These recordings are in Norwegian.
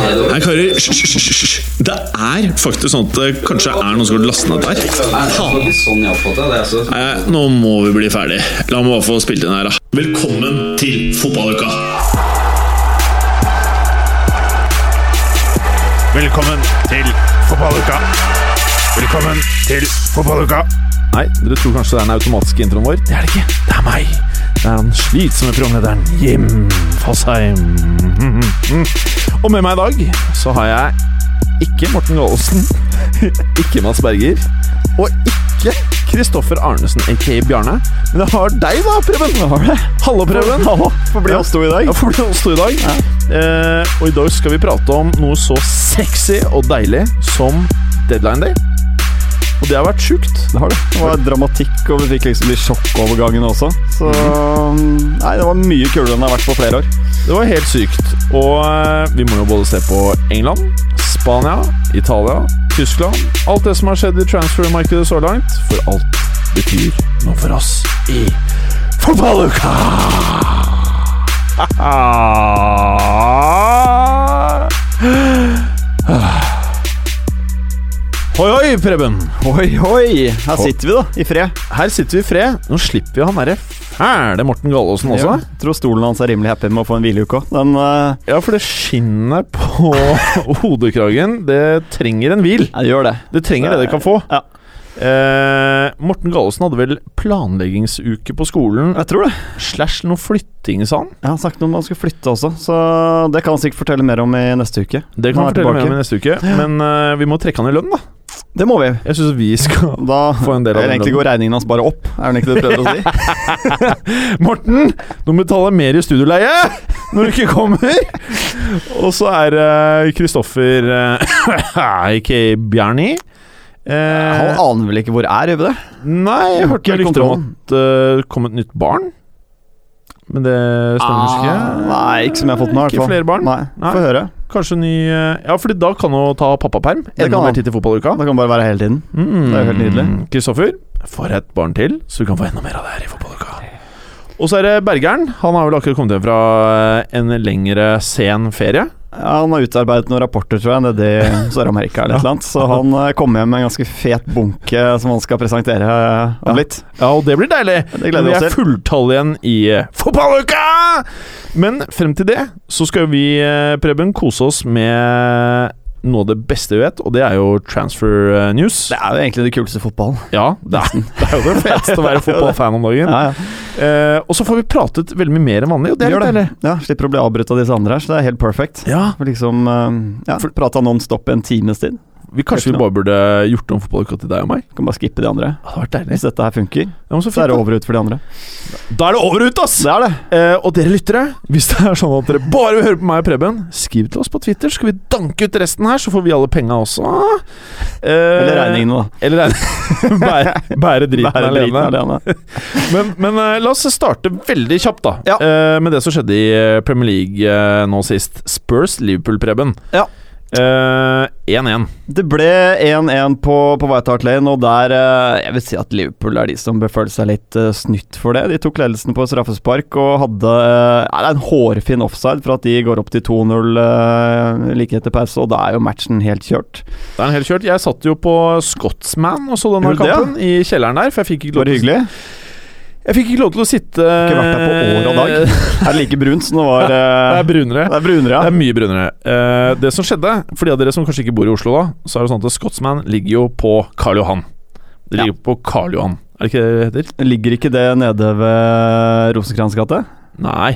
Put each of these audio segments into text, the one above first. hører hysj, hysj, hysj, hysj. Det er faktisk sånn at det kanskje er noen som har lastet ned der. Nei, det var ikke sånn jeg oppfattet det. Altså. Nei, nå må vi bli ferdig. La meg bare få spilt inn her, da. Velkommen til fotballuka! Velkommen til fotballuka. Velkommen til fotballuka. Nei, dere tror kanskje det er den automatiske introen vår. Det er det ikke. Det er meg. Det er han slitsomme programlederen Jim Fosheim. Mhm, mhm. Og med meg i dag så har jeg ikke Morten Gallosen, ikke Mads Berger og ikke Kristoffer Arnesen, aka Bjarne. Men jeg har deg, da, Preben. Hallo, Preben. Får bli oss to i dag. Ja, får bli oss to i dag. Eh, og i dag skal vi prate om noe så sexy og deilig som Deadline Day. Og det har vært sjukt. Det har det. Det var dramatikk, og vi fikk liksom de sjokkovergangene også. Så Mhm. Nei, det var mye kulere enn det har vært på flere år. Det var helt sykt. Og eh, vi må jo både se på England, Spania, Italia, Tyskland. Alt det som har skjedd i transfermarkedet så langt. For alt betyr noe for oss i fotballuka! Hoi, hoi, Preben. Oi, oi! Her sitter vi, da. I fred. Her sitter vi i fred. Nå slipper vi han derre fæle Morten Gallaasen også. Ja, jeg tror stolen hans er rimelig happy med å få en hvileuke òg. Den eh, Ja, for det skinnet på hodekragen, det trenger en hvil. ja, gjør det. Det trenger det det kan få. Ja. Eh, Morten Gallesen hadde vel planleggingsuke på skolen Jeg tror det. slash noe flytting, sa han. Jeg har snakket om at han skulle flytte også, så det kan han sikkert fortelle mer om i neste uke. Det kan Nå han er fortelle jeg mer om tilbake. i neste uke, men eh, vi må trekke han i lønn, da. Det må vi. Jeg syns vi skal Da Få en del av eller den egentlig går regningen hans bare opp, er det ikke det du prøver å si? Morten, du må betale mer i studioleie når du ikke kommer! Og så er eh, Kristoffer eh, Ikke Bjarni. Han Eh, aner vel ikke hvor er, gjør vi det? nei, jeg hørte Ikke jeg rykter om kontroll. at eh, det kom et nytt barn. Men det Ah. stemmer kanskje ikke? Nei, ikke som jeg har fått med meg. i hvert Ikke fall. flere barn? Nei, Nei. Få høre. Kanskje ny eh, Ja, fordi da kan hun ta pappaperm. kan Enda han. mer tid til fotballuka. Da kan det bare være hele tiden. Mm. Det er jo helt nydelig. Kristoffer, får et barn til, så vi kan få enda mer av det her i fotballuka. Og så er det Bergeren. Han har vel akkurat kommet hjem fra eh, en lengre sen ferie. Ja, Han har utarbeidet noen rapporter, tror jeg, nede i Sør-Amerika eller et eller annet. Så han eh, kom hjem med en ganske fet bunke som han skal presentere eh, om Ja. litt. Ja, og det blir deilig! Det gleder vi vi er oss til. fulltall igjen i eh, fotballuka! Men frem til det så skal vi, eh, Preben, kose oss med noe av det beste vi vet, og det er jo transfer eh, news. Det er jo egentlig det kuleste i fotballen. Ja, det er, det er jo det feteste å være fotballfan om dagen. Ja, ja. Eh, og så får vi pratet veldig mye mer enn vanlig, og det er Gjør litt deilig. Ja, slipper å bli avbrutt av disse andre her, så det er helt perfect. Ja, For liksom eh, ja, Prata non stop en times tid. vi Kanskje vi Helt bare burde gjort om fotballuka til deg og meg? Kan bare skippe de andre. Det hadde vært deilig. Hvis dette her funker, Ja, men så så fint, er det da. over ut for de andre. da er det over ut, ass! Det er det! Eh, og dere lyttere, hvis det er sånn at dere bare vil høre på meg og Preben, skriv til oss på Twitter, skal vi danke ut resten her, så får vi alle penga også. Eh, Eller regningene, da. Eller regning. bære, bære driten Bære driten alene. alene. Men, men eh, la oss starte veldig kjapt, da. Ja. Eh, med det som skjedde i eh, Premier League eh, nå sist. Spurs Liverpool, Preben. Ja. Eh, 1-1. Det ble 1-1 på, på White Hart Lane, og der eh, Jeg vil si at Liverpool er de som bør føle seg litt eh, snytt for det. De tok ledelsen på straffespark og hadde eh, ja, Det er en hårfin offside for at de går opp til 2-0 eh, like etter pause, og da er jo matchen helt kjørt. Det er en helt kjørt. Jeg satt jo på Scotsman og så denne Gjorde du det, ja? kampen i kjelleren der, for jeg fikk ikke Var lov, det til, hyggelig? jeg fikk ikke lov til å sitte Ikke vært der på år og dag. Er det like brunt som det var Eh. Det eh, er brunere. Det er brunere, Det ja. er mye brunere. Eh, det som skjedde, for de av dere som kanskje ikke bor i Oslo da, så er det sånn at Scotsman ligger jo på Karl Johan. Det ligger på Karl Johan, er det ikke det det heter? Ligger ikke det nede ved Rosenkrantz gate? Nei.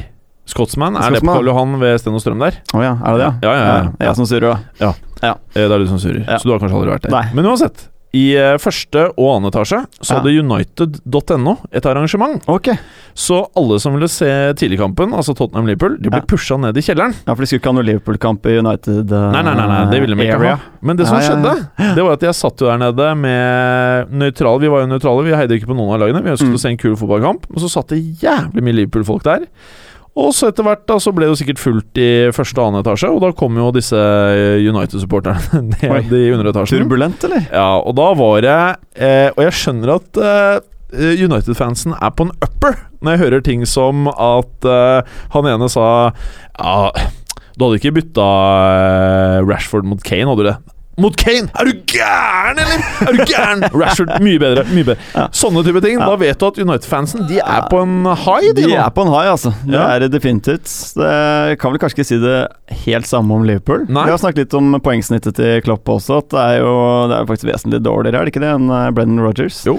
Scotsman er det på Scotsman. Karl Johan ved Sten og Strøm der. Å ja, er det det? Ja, ja, ja, ja. Jeg som surrer, da. Eh, det er du som surrer, Ja. så du har kanskje aldri vært der. Nei. Men uansett. I eh, første og annen etasje så Ja. hadde United.no et arrangement. Ok. Så alle som ville se tidligkampen, altså Tottenham-Liverpool, de ble Ja. pusha ned i kjelleren. Ja, for de skulle ikke ha noe Liverpool-kamp i United eh, Nei, nei, nei, nei, det ville de ikke area. ha. Men det som Ja, ja, ja. skjedde, det var at jeg satt jo der nede med nøytrale Vi var jo nøytrale, vi heide ikke på noen av lagene. Vi ønsket Mm. å se en kul fotballkamp, men så satt det jævlig mye Liverpool-folk der. Og så etter hvert da, så ble det jo sikkert fullt i første og annen etasje, og da kom jo disse eh, United-supporterne ned Oi. i underetasjen. Turbulent, eller? Ja, og da var jeg eh, Og jeg skjønner at eh, United-fansen er på en upper når jeg hører ting som at eh, han ene sa Ja, Du hadde ikke bytta eh, Rashford mot Kane, hadde du det? Mot Kane! Er du gæren, eller?! Er du gæren? Rashford, mye bedre. mye bedre Sånne type ting. Da vet du at United-fansen De er på en high, de, De nå. er på en high, altså. Det Ja. er det definitivt. Det kan vel kanskje ikke si det helt samme om Liverpool. Nei. Vi har snakket litt om poengsnittet til Klopp også, at det er jo det er faktisk vesentlig dårligere, er det ikke det, enn eh, Brendan Rodgers? Jo.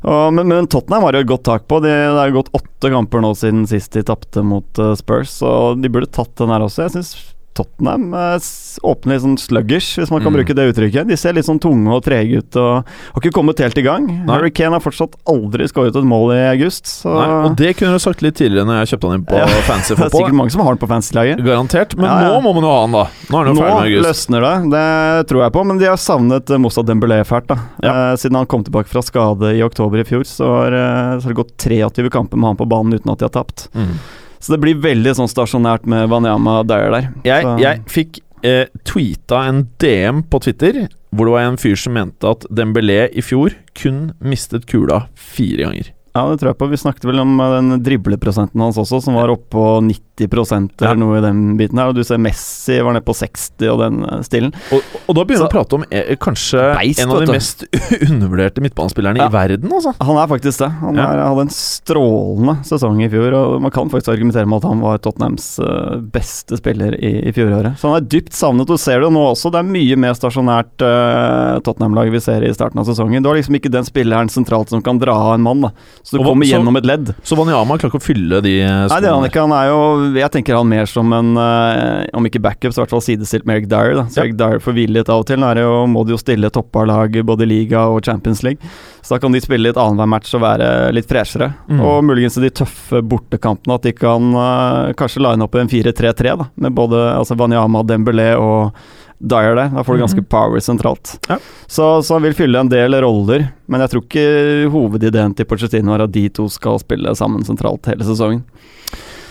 Og, men, men Tottenham har jo et godt tak på. De, det har jo gått åtte kamper nå siden sist de tapte mot eh, Spurs, og de burde tatt den her også. Jeg syns Tottenham eh, s- åpner litt sånn sluggish, hvis man kan Mm. bruke det uttrykket. De ser litt sånn tunge og trege ut og har ikke kommet helt i gang. Harry Kane har fortsatt aldri skåret et mål i august, så Nei, og det kunne du sagt litt tidligere når jeg kjøpte han inn på Ja. Fancy det er sikkert Football. mange som har den på fancy-laget. Garantert. Men Ja, ja. nå må man jo ha han, da. Nå er han jo Nå ferdig med august. løsner det, det tror jeg på, men de har savnet eh, Moussa Dembélé fælt. da eh, Siden han kom tilbake fra skade i oktober i fjor, så har, eh, så har det gått 23 kamper med han på banen uten at de har tapt. Mm. Så det blir veldig sånn stasjonært med Wanyama og Dyer der. Jeg, Så- jeg fikk eh, tweeta en DM på Twitter hvor det var en fyr som mente at Dembélé i fjor kun mistet kula fire ganger. Ja, det tror jeg på. Vi snakket vel om eh, den dribleprosenten hans også, som var oppå 90 eller Ja. noe i den biten her. Og du ser Messi var nede på 60 og den eh, stilen. Og, og da begynner Så- vi å prate om eh, kanskje Beist, en av de vet du. mest undervurderte midtbanespillerne Ja. i verden, altså. Han er faktisk det. Han Ja. er, hadde en strålende sesong i fjor. Og Man kan faktisk argumentere med at han var Tottenhams eh, beste spiller i, i fjoråret. Så han er dypt savnet, og du ser det jo nå også. Det er mye mer stasjonært eh, Tottenham-lag vi ser i starten av sesongen. Du har liksom ikke den spilleren sentralt som kan dra av en mann, da. Så du Og hva- kommer så- gjennom et ledd. Så Wanyama klarer ikke å fylle de eh, Nei, det gjør han skoene. ikke. Han er jo Jeg tenker han mer som en eh, Om ikke backup, så i hvert fall sidestilt med Eric Dyer. Da. Så Ja. Eric Dyer får hvile litt av og til. Nå er det jo, må de jo stille toppa lag i både liga og Champions League. Så da kan de spille litt annenhver match og være litt freshere. Mm. Og muligens i de tøffe bortekampene at de kan eh, kanskje line opp en 4-3-3, da. Med både altså Wanyama, Dembélé og Dyer der. Da får du ganske Mhm. power sentralt. Ja. Så, så han vil fylle en del roller, men jeg tror ikke hovedideen til Pochettino er at de to skal spille sammen sentralt hele sesongen.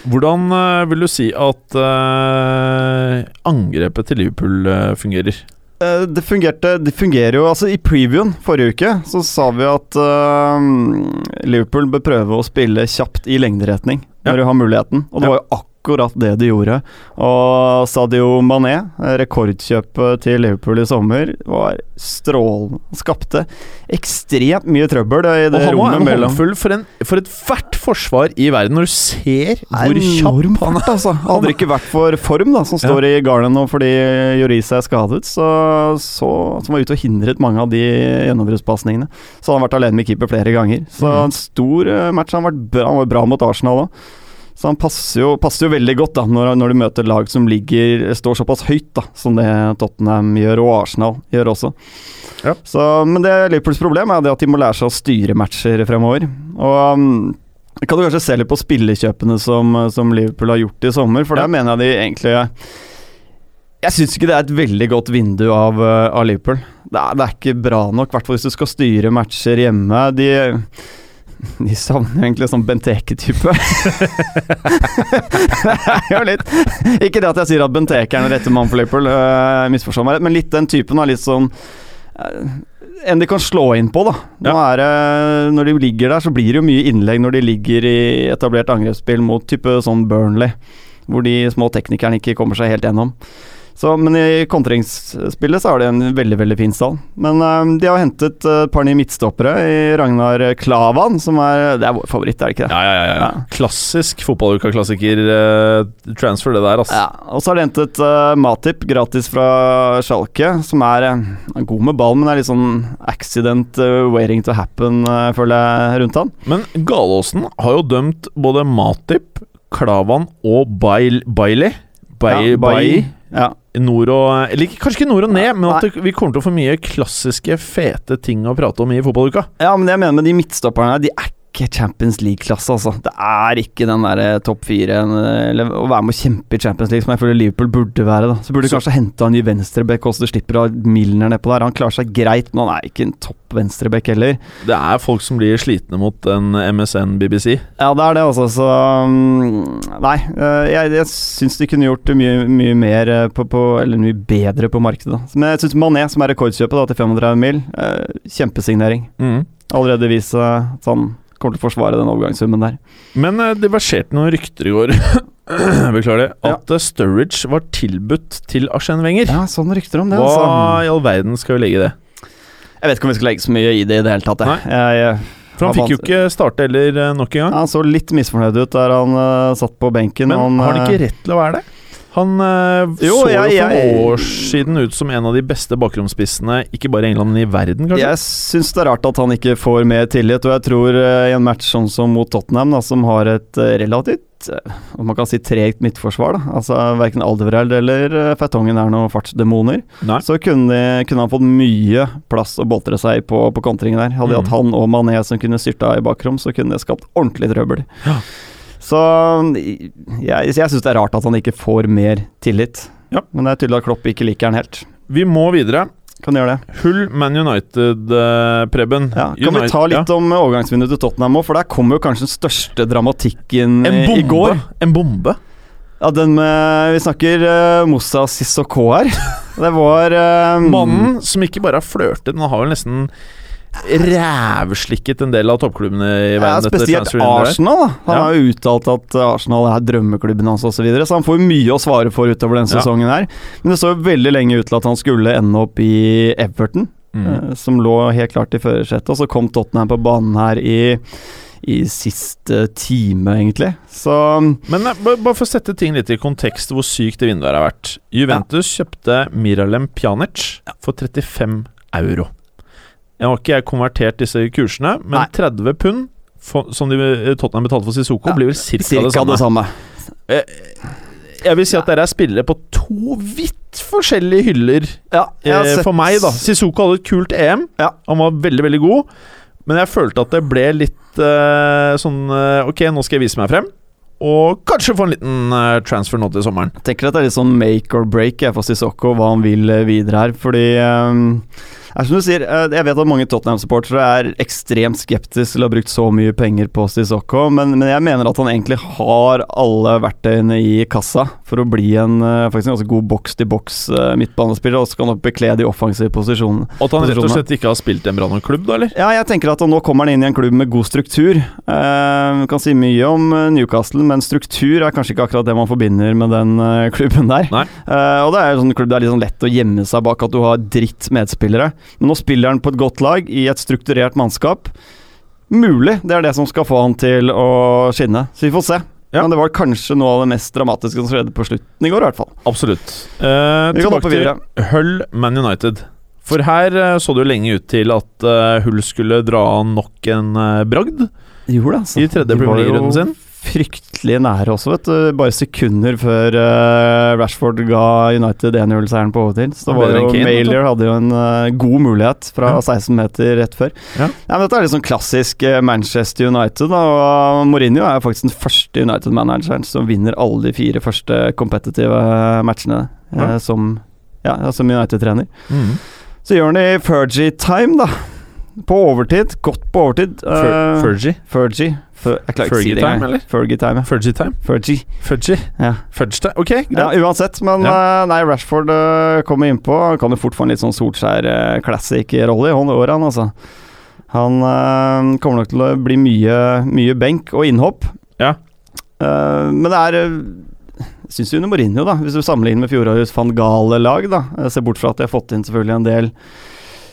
Hvordan eh, vil du si at eh, angrepet til Liverpool eh, fungerer? Eh, Det fungerte Det fungerer jo Altså, i previewen forrige uke så sa vi at eh, Liverpool bør prøve å spille kjapt i lengderetning Ja. når du har muligheten, og det Ja. var jo akkurat det de gjorde. Og Sadio Mané, eh, rekordkjøpet til Liverpool i sommer, var strålende. Skapte ekstremt mye trøbbel i Og det han var rommet en mellom håndfull for, en, for ethvert forsvar i verden, når du ser hvor kjapp Enorm fart, altså. Hadde det ikke vært for Form, da, som står i garnet nå fordi Jorisa er skadet, så, så, som var ute og hindret mange av de gjennombruddspasningene, så hadde han vært alene med keeper flere ganger. Så Mhm. en stor eh, match. Han, har vært bra, han var bra mot Arsenal òg. Så han passer jo, passer jo veldig godt da, når, når du møter lag som ligger, står såpass høyt da, som det Tottenham gjør, og Arsenal gjør også. Ja. Så, men det Liverpools problem er det at de må lære seg å styre matcher fremover. Og um, kan du kanskje se litt på spillekjøpene som, som Liverpool har gjort i sommer, for Ja. der mener jeg de egentlig Jeg syns ikke det er et veldig godt vindu av, eh, av Liverpool. Det er, det er ikke bra nok, i hvert fall hvis du skal styre matcher hjemme. De, de savner egentlig sånn Benteke-type. Det er jo litt Ikke det at jeg sier at Benteke er den rette mannen for Liverpool, øh, misforstå meg rett, men litt den typen er litt sånn eh, en de kan slå inn på, da. Nå er det, når de ligger der, så blir det jo mye innlegg når de ligger i etablert angrepsspill mot type sånn Burnley, hvor de små teknikerne ikke kommer seg helt gjennom. Så, men i kontringsspillet så har de en veldig veldig fin stall. Men eh, de har hentet eh, et par nye midtstoppere i Ragnar Klavan, som er Det er vår favoritt, er det ikke det? Ja, ja, ja, ja. Ja. Klassisk fotballuka-klassiker eh, transfer, det der, ass. Ja, og så har de hentet eh, Matip gratis fra Schalke, som er eh, han er god med ball, men er litt sånn accident eh, waiting to happen, eh, føler jeg, rundt han. Men Galåsen har jo dømt både Matip, Klavan og Bail, Bailey. Bai, Ja, Bai, Ja, nord og Eller ikke- kanskje ikke nord og ned, men at Nei. det, vi kommer til å få mye klassiske, fete ting å prate om i fotballuka. Ja, men det jeg mener med de midtstopperne her, de er ikke Champions League-klasse, altså. Det er ikke den derre topp fire, eh, eller å være med å kjempe i Champions League, som jeg føler Liverpool burde være, da. Så burde du kanskje hente en ny venstreback også, du slipper å ha Milner nedpå der. Han klarer seg greit, men han er ikke en topp venstreback heller. Det er folk som blir slitne mot en MSN BBC. Ja, det er det, altså. Så um, Nei, eh, jeg, jeg syns de kunne gjort det mye, mye mer eh, på, på Eller mye bedre på markedet. da. Men jeg syns Mané, som er rekordkjøpet da, til 35 mil, eh, kjempesignering. Mm. Allerede vist seg at han kommer til å forsvare den overgangssummen der. Men eh, det verserte noen rykter i går Beklager det. At eh, Sturridge var tilbudt til Arsen Wenger. Ja, sånn rykter om det, Hva altså. i all verden skal vi legge i det? Jeg vet ikke om vi skal legge så mye i det i det hele tatt. Jeg. Jeg, For han Har fikk jo vans- ikke starte heller eh, nok en gang. Han så litt misfornøyd ut der han eh, satt på benken. Men og har han eh, ikke rett til å være det? Han eh, Jo, så jeg- jo for jeg- noen år siden ut som en av de beste bakromsspissene, ikke bare i England, men i verden, kanskje? Jeg syns det er rart at han ikke får mer tillit, og jeg tror eh, i en match sånn som mot Tottenham, da, som har et eh, relativt eh, om man kan si tregt midtforsvar, da. altså verken Aldevereld eller eh, Fertongen er noen fartsdemoner, Nei. så kunne, de, kunne han fått mye plass å boltre seg på på kontringen der. Hadde de hatt Mm. han og Mané som kunne styrta i bakrom, så kunne det skapt ordentlig trøbbel. Ja. Så jeg, jeg syns det er rart at han ikke får mer tillit. Ja. Men det er tydelig at Klopp ikke liker han helt. Vi må videre. Kan gjøre det. Hull Man United, eh, Preben. Ja, kan United- vi ta litt om eh, overgangsvinduet til Tottenham òg, for der kom jo kanskje den største dramatikken En i- bombe! i går. En bombe? Ja, den med Vi snakker uh, Moussa Sissoko her. Det var eh, Mm. Mannen som ikke bare har flørtet, men han har vel nesten rævslikket en del av toppklubbene i ja, verden. etter Spesielt transfervinduet her. Arsenal. da. Han Ja. har jo uttalt at eh, Arsenal er drømmeklubben hans osv., så, videre, så han får jo mye å svare for utover denne Ja. sesongen. her Men det så jo veldig lenge ut til at han skulle ende opp i Everton, Mm. eh, som lå helt klart i førersetet. Og så kom Tottenham på banen her i, i siste time, egentlig. Så Men eh, bare bare for å sette ting litt i kontekst hvor sykt det vinduet her har vært. Juventus kjøpte Miralem Pjanic for 35 euro. Jeg har ikke jeg konvertert disse kursene, men Nei. 30 pund for, som de, eh, Tottenham betalte for Sissoko, Ja, blir vel cirka, cirka det samme. det samme. Jeg vil si at dere er spillere på to vidt forskjellige hyller Ja, jeg har eh, sett- for meg, da. Sissoko hadde et kult EM. Ja. Han var veldig, veldig god. Men jeg følte at det ble litt eh, sånn eh, Ok, nå skal jeg vise meg frem. Og kanskje få en liten eh, transfer nå til sommeren. Jeg tenker at det er litt sånn make or break jeg, for Sissoko, hva han vil eh, videre her. Fordi ehm, det er som du sier, eh, jeg vet at mange Tottenham-supportere er ekstremt skeptiske til å ha brukt så mye penger på Sissoko, men, men jeg mener at han egentlig har alle verktøyene i kassa for å bli en eh, faktisk en ganske god boks-til-boks eh, midtbanespiller, og så kan han bekle de offensive posisjonene. Og at han rett og Posisjonene. slett ikke har spilt i en bra nok klubb, da, eller? Ja, jeg tenker at nå kommer han inn i en klubb med god struktur. Eh, vi kan si mye om eh, Newcastle, men struktur er kanskje ikke akkurat det man forbinder med den eh, klubben der. Nei. Eh, og det er jo sånn klubb det er litt sånn lett å gjemme seg bak at du har dritt medspillere. Men nå spiller han på et godt lag, i et strukturert mannskap. Mulig det er det som skal få han til å skinne, så vi får se. Ja. Men det var kanskje noe av det mest dramatiske som skjedde på slutten i går, i hvert fall. Absolutt. Eh, Vi kan tilbake hoppe videre. til Hull Man United. For her eh, så det jo lenge ut til at eh, Hull skulle dra nok en eh, bragd Gjorde det, altså. i tredje De var Premier jo League-runden sin. fryktelig nære også, vet du. Bare sekunder før eh, Rashford ga United 1-0-seieren på overtid. Så Da var ble det det en jo Kane, vet du. Mailer hadde jo en eh, god mulighet fra Ja. 16 meter rett før. Ja. men dette er litt sånn klassisk eh, Manchester United. Da, og Mourinho er jo faktisk den første United-manageren som vinner alle de fire første kompetitive matchene eh, Ja. som, ja, som United-trener. Mm. Så gjør han det i Fergie-time, da. På overtid. Godt på overtid. Fer Eh, Fergie. Fergie. Fer jeg klarer ikke å si det Fergie-time, engang. eller? Fergie-time, ja. Fergie time. Fergie. Fudgy. Ja. Fudge time. Ok, greit. ja, uansett. Men eh, nei, Rashford eh, kommer innpå. Han kan jo fort få en litt sånn Solskjær-classic-rolle i hånd året, han altså. Han eh, kommer nok til å bli mye, mye benk og innhopp. Ja. Eh, men det er eh, jeg Syns jo under Mourinho, da, hvis du sammenligner med fjorårets van Gale-lag, da. Jeg ser bort fra at de har fått inn selvfølgelig en del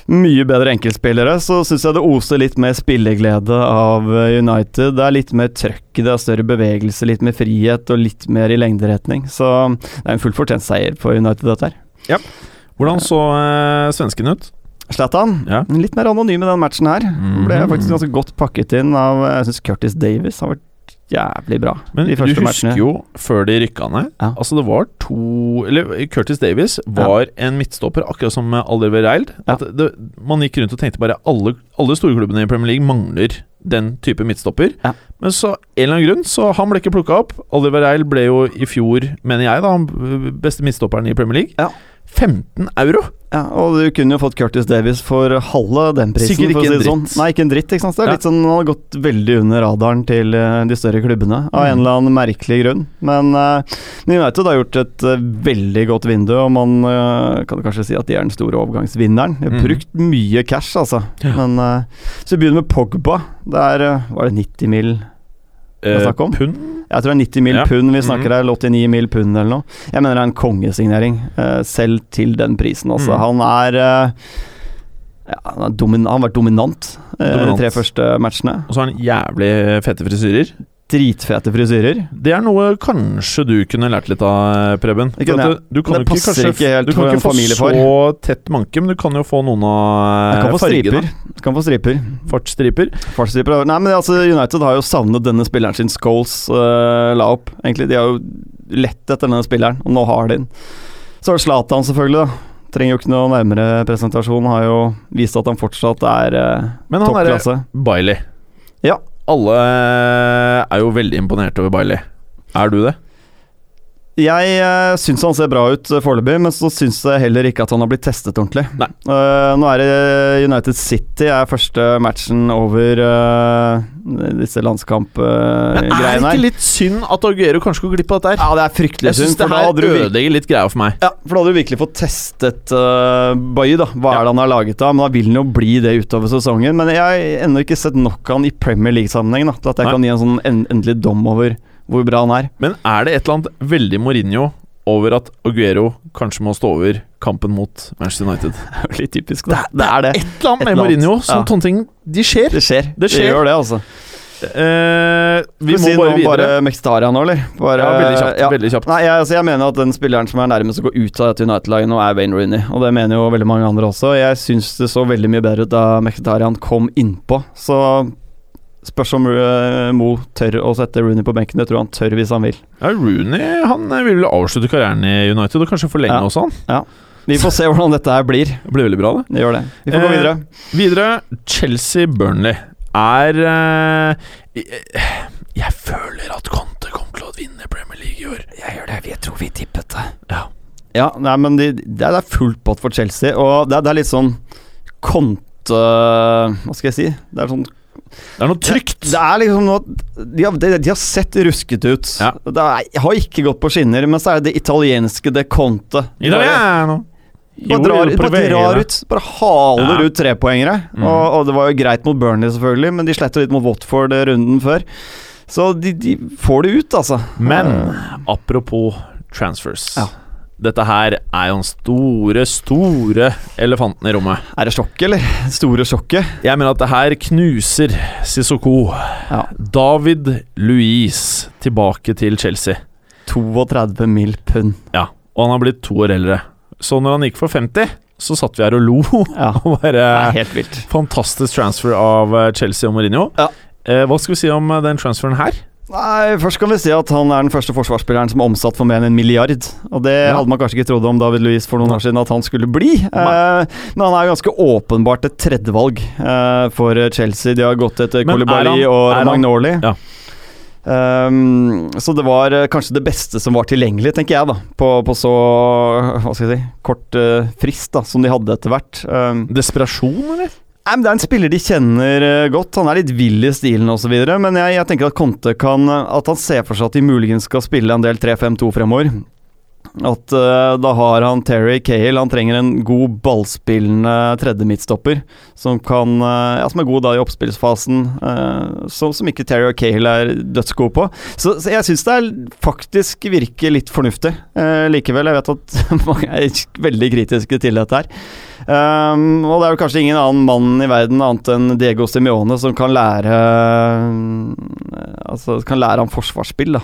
mye bedre enkeltspillere, så syns jeg det oser litt mer spilleglede av eh, United. Det er litt mer trøkk, det er større bevegelse, litt mer frihet og litt mer i lengderetning. Så det er en fullt fortjent seier for United, dette her. Hvordan så eh, svensken ut? Zlatan, Ja. litt mer anonym i den matchen her. Mhm. Ble faktisk ganske godt pakket inn av eh, Jeg syns Curtis Davis har vært jævlig bra Men de du første husker matchene. jo før de rykka ned. Ja. Altså, det var to Eller Curtis Davis var en midtstopper, akkurat som Alderve Reild. Ja. At det, man gikk rundt og tenkte bare alle, alle storklubbene i Premier League mangler den type midtstopper. Ja. Men så en eller annen grunn, så han ble ikke plukka opp. Alderve Reild ble jo i fjor, mener jeg, da, han beste midtstopperen i Premier League. Ja. 15 euro! Ja, og du kunne jo fått Curtis Davis for halve den prisen. Sikkert ikke for å en si det sånn. dritt. Nei, ikke en dritt. ikke sant? Det er Ja. litt sånn, Han har gått veldig under radaren til eh, de større klubbene, av en Mm. eller annen merkelig grunn. Men eh, men United har gjort et eh, veldig godt vindu, og man eh, kan kanskje si at de er den store overgangsvinneren. De har Mm. brukt mye cash, altså. Ja. Men eh, så vi begynner med Pogba. Det er eh, Var det 90 mil? Hva snakker om? eh, pund? Jeg tror det er 90 mil Ja. Mhm. pund vi snakker her, eller 89 mil pund eller noe. Jeg mener det er en kongesignering, eh, selv til den prisen, altså. Mm. Han er eh, ja, han, er domin han har vært dominant eh, de Dominant. tre første matchene. Og så har han jævlig fete frisyrer. Dritfete frisyrer. Det er noe kanskje du kunne lært litt av, Preben. Det kunne For at Du, du kan Men det jo ikke, passer kanskje, ikke helt du kan for ikke en få familiefar. så tett manke, men du kan jo få noen Jeg av kan eh, få striper. fargene. Jeg Kan få striper. Fartsstriper. Fartsstriper. Nei, men altså, United har jo savnet denne spilleren sin Scholes eh, la opp, egentlig. De har jo lett etter denne spilleren, og nå har de den. Så er det Zlatan, selvfølgelig. da. Trenger jo ikke noe nærmere presentasjon. Har jo vist at han fortsatt er eh, Men han derre toppklasse. Bailey. Ja. Alle eh, er jo veldig imponert over Bailey. Er du det? Jeg uh, syns han ser bra ut eh, foreløpig, men så syns jeg heller ikke at han har blitt testet ordentlig. Nei. Eh, nå er det United City er første matchen over eh, disse Eh, Men er det landskampgreiene ikke her. litt synd at Aguero kanskje går glipp av dette her? Ja, det er fryktelig Jeg synd. syns det for da her hadde du virkelig- ødelegger litt greia for meg. Ja, for da hadde du virkelig fått testet uh, Bailly, da. Hva Ja. er det han har laget av? Men da vil han jo bli det utover sesongen. Men jeg har ennå ikke sett nok av han i Premier League-sammenheng da, til at jeg Nei. kan gi en sånn en endelig dom over hvor bra han er. Men er det et eller annet veldig Mourinho over at Aguero kanskje må stå over kampen mot Manchester United? Litt typisk, da. Det er det. Et eller annet Et med eller annet. Mourinho. Sånne Ja. sånne ting De skjer. Det skjer. Det skjer. gjør det, altså. Eh, vi må Skal si bare noe om videre. Bare Mekstarian nå, eller? eh, Bare, Ja, veldig kjapt. ja. Veldig kjapt. Nei, jeg, altså, jeg mener at den spilleren som er nærmest å gå ut av dette United-laget nå, er Wayne Rooney. Og det mener jo veldig mange andre også. Jeg syns det så veldig mye bedre ut da Mkhitarian kom innpå. Så spørs om eh, Mo tør å sette Rooney på benken. Det tror jeg han tør hvis han vil. Ja, Rooney han eh, vil vel avslutte karrieren i United, og kanskje forlenge Ja. også, han. Vi får se hvordan dette her blir. Det blir veldig bra, det. Det gjør det. Vi får gå Eh, videre. Videre, Chelsea-Burnley er eh, jeg, jeg føler at Conte kommer til å vinne Premier League i år. Jeg gjør det. Jeg tror vi tippet det. Ja. Ja, nei, men de, det er det er fullt pott for Chelsea, og det er, det er litt sånn konte... Hva skal jeg si? Det er sånn Det er noe trygt. Det er liksom noe De har, de, de har sett rusket ut. Ja. Det er, har ikke gått på skinner, men så er det det italienske de Conte. De bare, Italiano. bare drar, Jo, bare prøver, drar da. ut. Bare haler Ja. ut trepoengere. Mhm. Og, og det var jo greit mot Burnley, selvfølgelig, men de sletter litt mot Watford eh, runden før. Så de, de får det ut, altså. Men Eh, apropos transfers. Ja. Dette her er jo den store, store elefanten i rommet. Er det sjokket, eller? Store sjokket. Jeg mener at det her knuser Sissoko. Ja. David Louise tilbake til Chelsea. 32 mill. pund. Ja, og han har blitt to år eldre. Så når han gikk for 50, så satt vi her og lo. Ja. Og Det er bare helt vilt. Fantastisk transfer av eh, Chelsea og Mourinho. Ja. Eh, hva skal vi si om eh, den transferen her? Nei, Først kan vi si at han er den første forsvarsspilleren som har omsatt for mer enn en milliard. Og Det Ja. hadde man kanskje ikke trodd om David Louis for noen år siden at han skulle bli. Nei. Eh, men han er jo ganske åpenbart et tredjevalg eh, for Chelsea. De har gått etter Men er Kolibali han- og er han- Magnoli. Ja. Ehm, så det var eh, kanskje det beste som var tilgjengelig, tenker jeg, da på, på så hva skal jeg si, kort eh, frist da som de hadde etter hvert. Ehm, Desperasjon, eller? Nei, men Det er en spiller de kjenner eh, godt. Han er litt vill i stilen osv. Men jeg, jeg tenker at Conte kan eh, At han ser for seg at de muligens skal spille en del 3-5-2 fremover. At eh, da har han Terry Cale. Han trenger en god ballspillende tredje midtstopper. Som kan eh, Ja, som er god da i oppspillsfasen. eh, som, som ikke Terry og Cale er dødsgode på. Så, så jeg syns det er faktisk virker litt fornuftig eh, likevel. Jeg vet at mange er veldig kritiske til dette her. Ehm, og det er vel kanskje ingen annen mann i verden annet enn Diego Simione som kan lære eh, Altså kan lære ham forsvarsspill, da,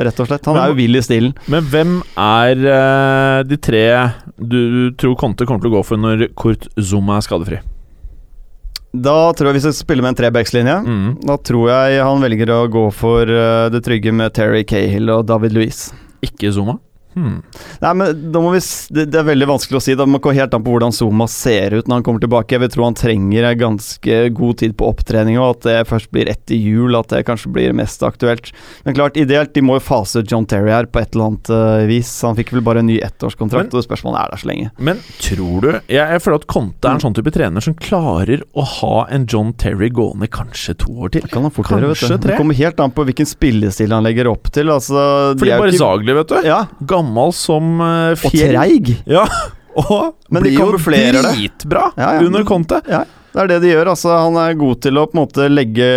rett og slett. Han Men- er jo vill i stilen. Men hvem er eh, de tre du tror Conte kommer til å gå for når Kurt Zuma er skadefri? Da tror jeg hvis jeg spiller med en trebackslinje Mm. da tror jeg han velger å gå for eh, det trygge med Terry Cahill og David Louise. Ikke Zuma? Hmm. Nei, men da må vi, s- det, det er veldig vanskelig å si. Det kommer helt an på hvordan Zuma ser ut når han kommer tilbake. Jeg vil tro han trenger en ganske god tid på opptrening, og at det først blir etter jul at det kanskje blir mest aktuelt. Men klart, ideelt, de må jo fase ut John Terry her på et eller annet eh, vis. Han fikk vel bare en ny ettårskontrakt, og spørsmålet er der så lenge. Men tror du jeg, jeg føler at Conte er en sånn type trener som klarer å ha en John Terry gående kanskje to år til. Det kan han fort gjøre, vet Kanskje du. tre? Det kommer helt an på hvilken spillestil han legger opp til. Altså, de Fordi er jo bare ikke- Zagli, vet du. Ja, Gammal som eh, og fjell. treig. Ja, og Men blir de jo kamuflerer det. dritbra Ja, ja. under Conte. Det er det de gjør. altså Han er god til å på en måte legge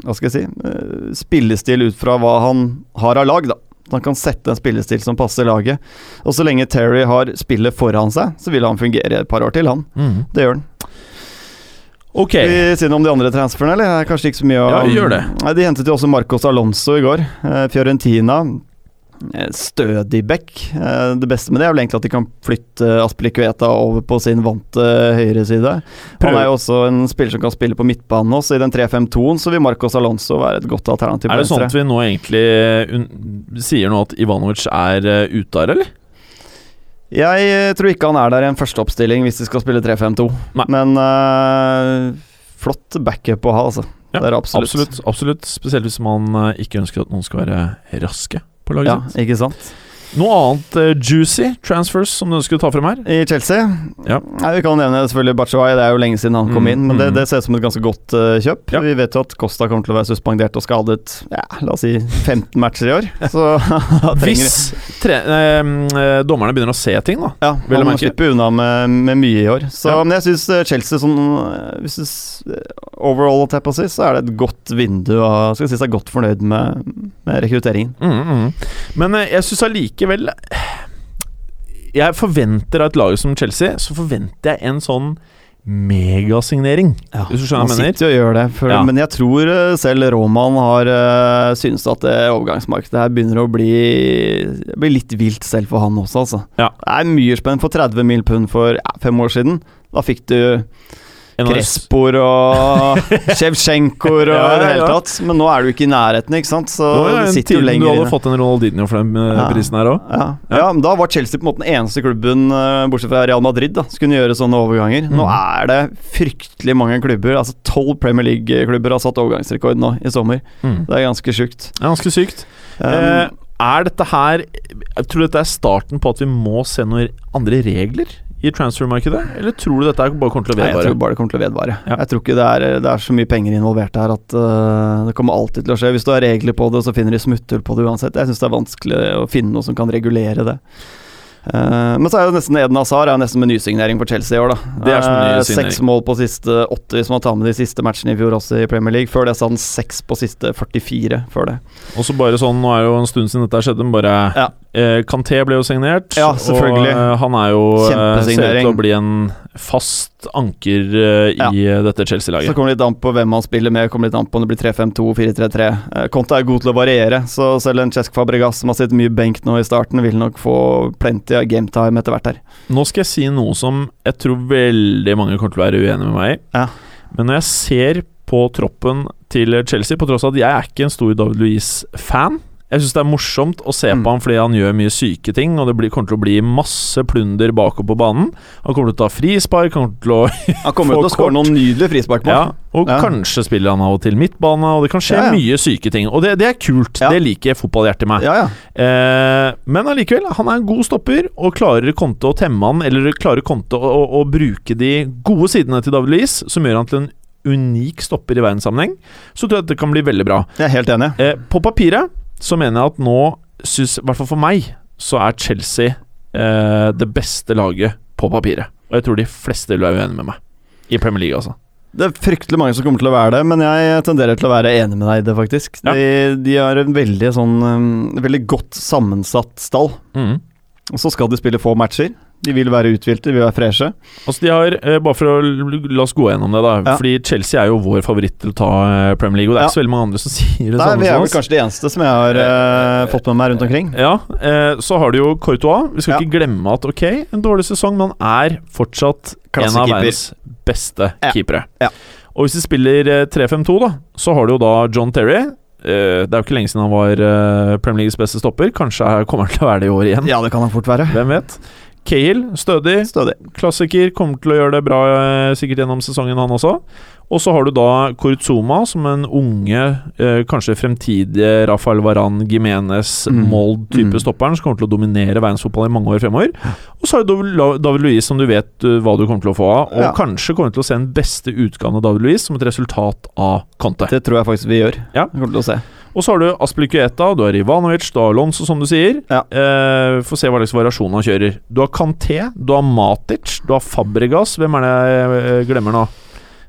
hva skal jeg si, eh, spillestil ut fra hva han har av lag. da. Så Han kan sette en spillestil som passer laget. Og så lenge Terry har spillet foran seg, så vil han fungere et par år til, han. Det gjør han. Ok, Skal Mm. vi si noe om de andre transferene, eller? Det er kanskje ikke så mye å Ja, gjør det. Nei, De hentet jo også Marcos Alonso i går. eh, Fiorentina. Eh, Stødig back. Eh, Det beste med det er vel egentlig at de kan flytte Aspilicueta over på sin vante eh, høyre side. Han Prøv. er jo også en spiller som kan spille på midtbanen også. I den 3-5-2-en så vil Marcos Alonso være et godt alternativ. på Er det sånn venstre. at vi nå egentlig eh, un sier nå at Ivanovic er eh, ute her, eller? Jeg eh, tror ikke han er der i en førsteoppstilling hvis de skal spille 3-5-2. Nei. Men eh, flott backup å ha, altså. Ja, det er det absolutt. Absolutt. absolutt. Spesielt hvis man eh, ikke ønsker at noen skal være raske på laget Ja, sitt. ikke sant? Noe annet eh, juicy transfers som du ønsker å ta frem her? I Chelsea Ja. Nei, Vi kan nevne selvfølgelig Batshuayi, det er jo lenge siden han kom Mm, inn. Men det, mm. det ser ut som et ganske godt eh, kjøp. Ja. Vi vet jo at Costa kommer til å være suspendert og skadet ja, la oss si 15 matcher i år. Så da trenger Hvis tre eh, eh, dommerne begynner å se ting, da. Ja, Vel å han merke. slipper unna med, med mye i år. Så, Ja. Men jeg syns Chelsea sånn eh, hvis du s- Overall, holdt jeg på å si, så er det et godt vindu. Og skal jeg si seg godt fornøyd med, med rekrutteringen. Mm, mm. Men eh, jeg syns allikevel eh, Jeg forventer av et lag som Chelsea, så forventer jeg en sånn megasignering. Ja, Hvis du skjønner hva jeg mener? sitter jo og gjør det, for, Ja. men jeg tror eh, selv Roman har eh, synes at det overgangsmarkedet her begynner å bli, bli litt vilt selv for han også, altså. Ja. Det er mye spenn for 30 mill. pund for ja, fem år siden. Da fikk du En av de- Krespor og Sjevtsjenkoer og Ja, ja, i det hele ja. tatt. Men nå er du ikke i nærheten, ikke sant? Så Nå er du det en sitter jo tid du lenger hadde inne. fått en Ronaldinho for den eh, Ja. prisen her òg. Ja. Ja. Ja. men da var Chelsea på en måte den eneste klubben, eh, bortsett fra Real Madrid, da, som kunne gjøre sånne overganger. Nå Mhm. er det fryktelig mange klubber. Altså Tolv Premier League-klubber har satt overgangsrekord nå i sommer. Mm. Det er ganske sjukt. Det er ganske sykt. Um, eh, er dette her Jeg tror dette er starten på at vi må se noen andre regler i transfermarkedet? Eller tror du dette her bare kommer til å Nei, jeg vedvare? tror bare det kommer til å vedvare. Ja. Jeg tror ikke det er, det er så mye penger involvert her at eh, det kommer alltid til å skje. Hvis du har regler på det, så finner de smutthull på det uansett. Jeg syns det er vanskelig å finne noe som kan regulere det. Eh, men så er jo nesten Eden Hazar er jo nesten med nysignering for Chelsea i år, da. Det er som en Eh, nysignering. seks mål på siste åtte, hvis man tar med de siste matchene i fjor også i Premier League. Før det så hadde han seks på siste 44 før det. Og så bare sånn, Nå er det jo en stund siden dette her skjedde, men bare Ja. eh, Kanté ble jo signert. Ja, selvfølgelig. Og eh, han er jo eh, ser ut Kjempesignering. til å bli en fast anker eh, i eh, dette Så Chelsea-laget. kommer det litt an på hvem han spiller med, kommer litt an på om det blir 3-5-2, 4-3-3. Eh, Conte er god til å variere, så selv en Cesc Fabregas som har sittet mye benk nå i starten, vil nok få plenty av gametime etter hvert her. Nå skal jeg si noe som jeg tror veldig mange kommer til å være uenige med meg i. Ja. Men når jeg ser på troppen til Chelsea, på tross av at jeg er ikke en stor David Louise-fan Jeg syns det er morsomt å se Mm. på han fordi han gjør mye syke ting, og det blir, kommer til å bli masse plunder bakover på banen. Han kommer til å ta frispark, han kommer til å Han kommer jo til å Få skåre kort. noen nydelige frisparkmål. Ja, og Ja. kanskje spiller han av og til midtbane, og det kan skje Ja, ja. mye syke ting. Og det, det er kult, Ja. det liker fotballhjertet i meg. Ja, ja. Eh, men allikevel, han er en god stopper, og klarer Conte å temme han, eller klarer Conte å, å, å bruke de gode sidene til David Luiz, som gjør han til en unik stopper i verdenssammenheng, så tror jeg dette kan bli veldig bra. Jeg er helt enig. Eh, på papiret så mener jeg at nå syns, i hvert fall for meg, så er Chelsea eh, det beste laget på papiret. Og jeg tror de fleste vil være uenige med meg. I Premier League, altså. Det er fryktelig mange som kommer til å være det, men jeg tenderer til å være enig med deg i det, faktisk. Ja. De, de har en veldig sånn um, Veldig godt sammensatt stall. Mm. Og så skal de spille få matcher. De vil være uthvilte, de vil være freshe. Altså de har, eh, Bare for å l- la oss gå gjennom det, da. Ja. Fordi Chelsea er jo vår favoritt til å ta eh, Premier League. Og det er ikke så veldig mange andre som sier det Nei, samme vi er som vel oss. kanskje de eneste som jeg har eh, fått med meg rundt omkring. Ja, eh, Så har du jo Courtois. Vi skal Ja. ikke glemme at ok, en dårlig sesong, men han er fortsatt en av Klassekeeper. verdens beste Ja. keepere. Ja. Og hvis de spiller eh, 3-5-2, da, så har du jo da John Terry, eh, Det er jo ikke lenge siden han var eh, Premier Leagues beste stopper. Kanskje er- kommer han til å være det i år igjen. Ja, det kan han fort være. Hvem vet? Cahill, stødig. Stødig. Klassiker. Kommer til å gjøre det bra eh, sikkert gjennom sesongen, han også. Og så har du da Kurzuma som en unge, eh, kanskje fremtidige Rafael Varan, Gimenez, Mm. Mold-type Mm. stopperen som kommer til å dominere verdensfotball i mange år fremover. Og så har du Dav- David Luiz, som du vet eh, hva du kommer til å få av, og Ja. kanskje kommer til å se den beste utgaven av David Luiz som et resultat av Conte. Det tror jeg faktisk vi gjør. Ja. Vi Kommer til å se. Og så har du Aspilicueta, du har Ivanovic, du har Alonso, som du sier. Ja. Eh, Få se hva slags variasjon han kjører. Du har Kanté, du har Matic, du har Fabregas. Hvem er det jeg eh, glemmer nå?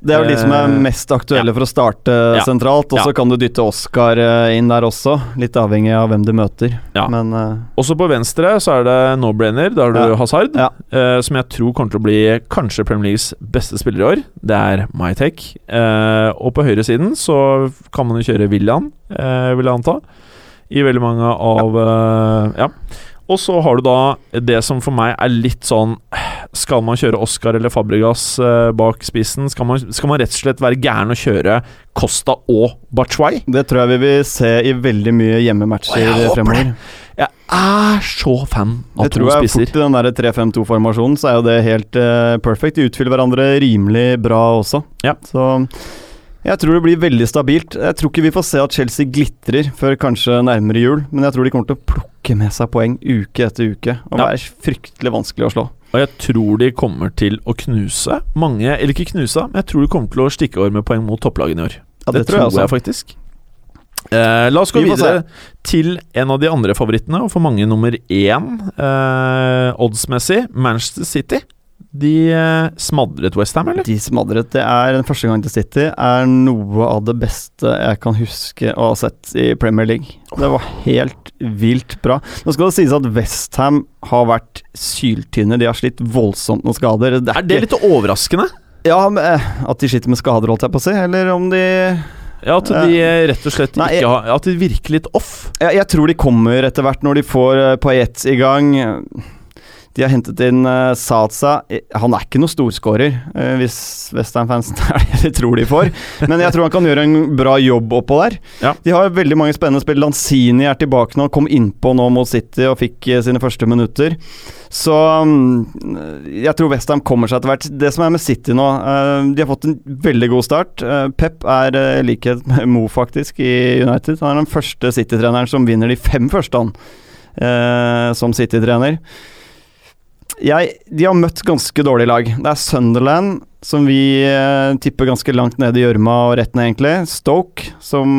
Det er jo de som er Eh, mest aktuelle for å starte eh, Ja. sentralt, og så Ja. kan du dytte Oscar eh, inn der også. Litt avhengig av hvem du møter. Ja. Men eh, Også på venstre så er det no-brainer. Da har du Ja. Hazard, Ja. eh, som jeg tror kommer til å bli kanskje Premier Leagues beste spiller i år. Det er my take. Eh, og på høyresiden så kan man jo kjøre William, eh, vil jeg anta. I veldig mange av eh, Ja. Og så har du da det som for meg er litt sånn Skal man kjøre Oscar eller Fabregas eh, bak spissen? Skal man, skal man rett og slett være gæren og kjøre Costa og Bachuay? det tror jeg vi vil se i veldig mye Å, jeg hjemmematcher håper fremover. Jeg er så fan av Det to tror jeg spisser. fort i den der 3-5-2-formasjonen, så er jo det helt eh, perfect. De utfyller hverandre rimelig bra også. Ja. Så jeg tror det blir veldig stabilt. Jeg tror ikke vi får se at Chelsea glitrer før kanskje nærmere jul, men jeg tror de kommer til å plukke med seg poeng uke etter uke og Ja. være fryktelig vanskelig å slå. Og jeg tror de kommer til å knuse mange Eller ikke knuse, men jeg tror de kommer til å stikke over med poeng mot topplagene i år. Ja, det, tror jeg også. faktisk. Eh, la oss gå Vi får videre til en av de andre favorittene, og for mange nummer én eh, oddsmessig, Manchester City. De eh, smadret Westham, eller? De smadret. Det er den første gangen til City er noe av det beste jeg kan huske å ha sett i Premier League. Det var helt vilt bra. Nå skal det sies at Westham har vært syltynne. De har slitt voldsomt med skader. Det Er det litt overraskende? Ja, men, eh, At de sliter med skader, holdt jeg på å si. Eller om de Ja, At de eh, rett og slett Nei, jeg- ikke har At de virker litt off. Jeg, jeg tror de kommer etter hvert, når de får eh, Payet i gang. De har hentet inn eh, Satsa. Eh, Han er ikke noen storskårer, eh, hvis Westham-fansen er det de tror de får. Men jeg tror han kan gjøre en bra jobb oppå der. Ja. De har veldig mange spennende spill. Lanzini er tilbake nå, kom innpå nå mot City og fikk eh, sine første minutter. Så mm, jeg tror Westham kommer seg etter hvert. Det som er med City nå eh, De har fått en veldig god start. Eh, Pep er eh, i likhet med Mo, faktisk, i United. Han er den første City-treneren som vinner de fem første, han, eh, som City-trener. Jeg, de har møtt ganske dårlige lag. Det er Sunderland, som vi eh, tipper ganske langt ned i gjørma og rett ned, egentlig. Stoke, som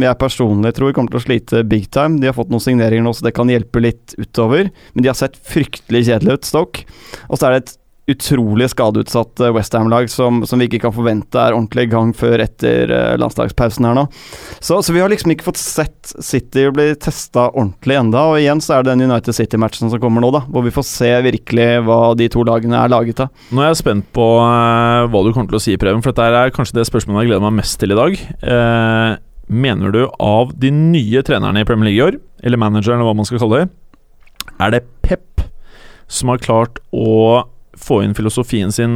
jeg personlig tror kommer til å slite big time. De har fått noen signeringer nå, så det kan hjelpe litt utover. Men de har sett fryktelig kjedelig ut, Stoke. Og så er det et utrolig skadeutsatt Westham-lag som, som vi ikke kan forvente er ordentlig i gang før etter eh, landslagspausen her nå. Så, så vi har liksom ikke fått sett City bli testa ordentlig enda Og igjen så er det den United City-matchen som kommer nå, da. Hvor vi får se virkelig hva de to lagene er laget av. Nå er jeg spent på eh, hva du kommer til å si, Preben, for dette er kanskje det spørsmålet jeg gleder meg mest til i dag. Eh, mener du av de nye trenerne i Premier League i år, eller manageren, eller hva man skal kalle det, er det Pep som har klart å få inn filosofien sin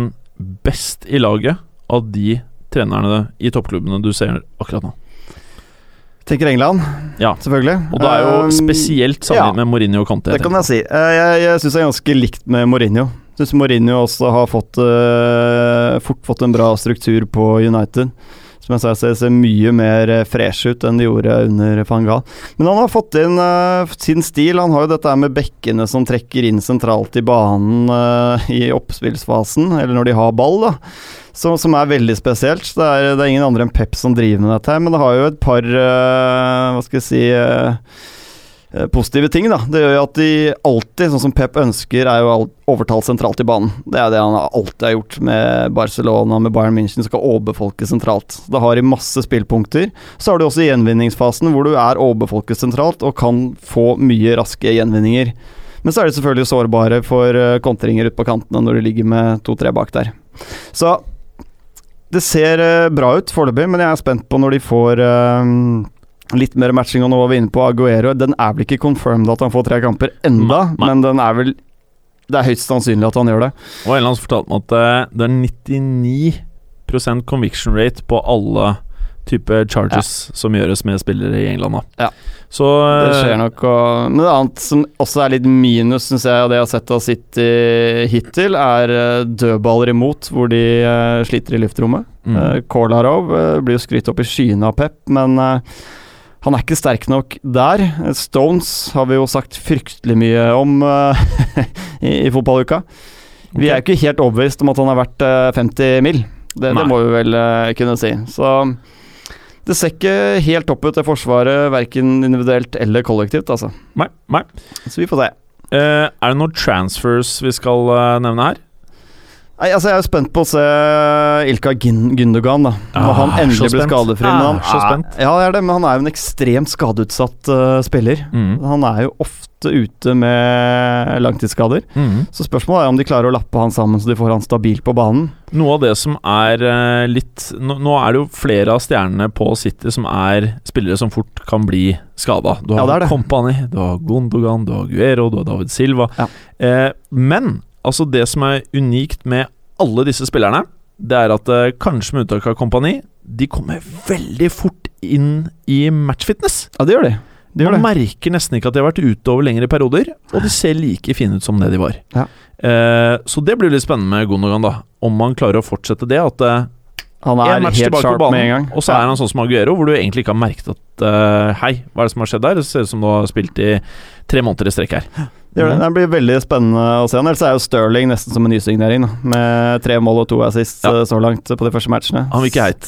best i laget av de trenerne i toppklubbene du ser akkurat nå? Tenker England, Ja. selvfølgelig. Og da er jo Um, spesielt ja. sammenlignet med Mourinho og Conte. Det kan jeg si. Eh, Jeg, jeg syns det er ganske likt med Mourinho. Syns Mourinho også har fått, eh, fort fått en bra struktur på United. Som jeg sa, ser, ser mye mer eh, fresh ut enn de gjorde under van Gaal. Men han har fått inn eh, sin stil. Han har jo dette her med bekkene som trekker inn sentralt i banen eh, i oppspillsfasen, eller når de har ball, da. Som, som er veldig spesielt. Så Det er, det er ingen andre enn Pep som driver med dette her, men det har jo et par eh, Hva skal jeg si eh, eh, positive ting. da Det gjør jo at de alltid, sånn som Pep ønsker, er jo alt- overtall sentralt i banen. Det er det han alltid har gjort med Barcelona, med Bayern München, skal overbefolke sentralt. Så Da har de masse spillpunkter. Så har du også gjenvinningsfasen, hvor du er overbefolket sentralt og kan få mye raske gjenvinninger. Men så er de selvfølgelig sårbare for eh, kontringer ut på kantene når de ligger med to-tre bak der. Så det ser eh, bra ut foreløpig, men jeg er spent på når de får eh, Litt mer matching, og nå var vi inne på Aguero. Den er vel ikke confirmed at han får tre kamper enda, Nei, nei. men den er vel Det er høyst sannsynlig at han gjør det. Og en eller annen som fortalte meg at eh, det er 99 conviction rate på alle type charges som gjøres med spillere i England. Da. Ja. Så Det eh, skjer nok. Og, men det annet som også er litt minus, syns jeg, av det jeg har sett av City hittil, er eh, dødballer imot, hvor de eh, sliter i luftrommet. Mm. Eh, Kolarov eh, blir jo skrytt opp i skyene av Pep, men eh, han er ikke sterk nok der. Eh, Stones har vi jo sagt fryktelig mye om eh, i, i fotballuka. Vi er jo ikke helt overbevist om at han er verdt eh, 50 mill. Det, Nei. det må vi vel eh, kunne si. Så det ser ikke helt opp ut, det forsvaret, verken individuelt eller kollektivt, altså. Nei, nei. Så vi får se. Eh, er det noen transfers vi skal eh, nevne her? Nei, altså Jeg er spent på å se Ilka Gin Gundogan. da Når Ah, han så endelig blir spent. skadefri. Ah, Men han, så spent. Ja, jeg er det, men han er jo en ekstremt skadeutsatt eh, spiller. Mm. Han er jo ofte ute med langtidsskader. Mm. Så spørsmålet er om de klarer å lappe han sammen så de får han stabilt på banen. Noe av det som er eh, litt nå, nå er det jo flere av stjernene på City som er spillere som fort kan bli skada. Du har Ja, det er det. Company, du har Gondogan, du har Guero, du har David Silva. Ja. Eh, men altså det som er unikt med alle disse spillerne, det er at eh, kanskje med unntak av Company, de kommer veldig fort inn i matchfitness. Ja, det gjør de. Det gjør Man det. merker nesten ikke at de har vært ute over lengre perioder, og de ser like fine ut som det de var. Ja. Eh, så det blir litt spennende med Gundogan, da. Om han klarer å fortsette det. At eh, Han en er match helt tilbake på sharp med en banen, gang. og så er han sånn som Aguero, hvor du egentlig ikke har merket at eh, Hei, hva er det som har skjedd der? Det ser ut som du har spilt i tre måneder i strekk her. Mm. Det, gjør det. det blir veldig spennende å se han. Ellers er jo Sterling nesten som en nysignering. da Med tre mål og to assist Ja. eh, så langt på de første matchene. Han vil ikke heit.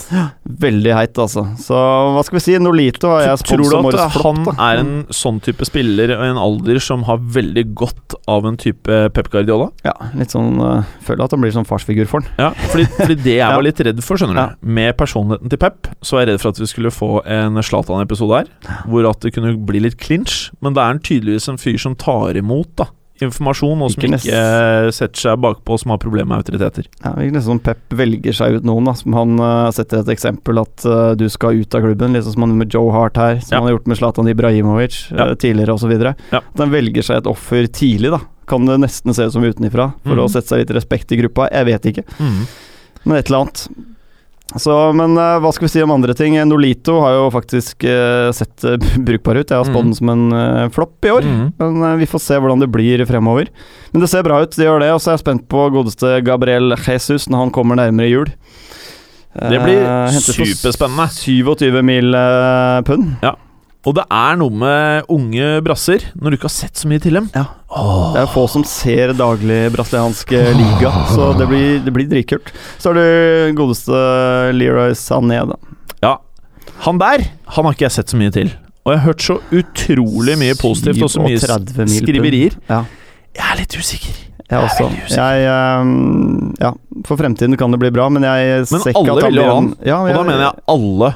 Veldig heit, altså. Så hva skal vi si? Nolito har jeg Tror spådd du som at årets han flopp. da. er en sånn type spiller og i en alder som har veldig godt av en type Pep Guardiola? Ja, litt sånn eh, Føler at han blir sånn farsfigur for han. Ja, fordi, fordi det jeg Ja. var litt redd for, skjønner du Ja. Med personligheten til Pep, så var jeg redd for at vi skulle få en Zlatan-episode her. Hvor at det kunne bli litt clinch. Men det er han tydeligvis en fyr som tar imot da informasjon, og som Ikke ikke, nest- eh, setter seg bakpå, som har problemer med autoriteter. Ja, det virker nesten som Pep velger seg ut noen, da, som han eh, setter et eksempel at eh, du skal ut av klubben, liksom som han gjorde med Joe Hart her, som Ja. han har gjort med Zlatan Ibrahimovic Ja. eh, tidligere osv. Ja. At han velger seg et offer tidlig, da. Kan det nesten se ut som utenifra, for Mhm. å sette seg litt respekt i gruppa. Jeg vet ikke, men et eller annet. Så, men eh, hva skal vi si om andre ting? Eh, Nolito har jo faktisk eh, sett eh, brukbar ut. Jeg har spådd Mhm. den som en eh, flopp i år. Mhm. Men eh, vi får se hvordan det blir fremover. Men det ser bra ut, det gjør det. Og så er jeg spent på godeste Gabriel Jesus når han kommer nærmere jul. Det blir Eh, hentes for superspennende. 27 mil eh, pund. Og det er noe med unge brasser, når du ikke har sett så mye til dem. Ja. Åh. Det er få som ser daglig brasiliansk eh, liga, så det blir, det blir dritkult. Så har du godeste Leroy Sané, da. Ja. Han der, han har ikke jeg sett så mye til. Og jeg har hørt så utrolig mye positivt, og så mye 37 mil pund. skriverier. Ja. Jeg er litt usikker. Jeg Jeg er også. veldig usikker. Jeg, eh, ja, for fremtiden kan det bli bra, men jeg Men ser ikke alle at han vil jo blir ha en- han, Ja, Og da mener jeg alle, Alle vil ha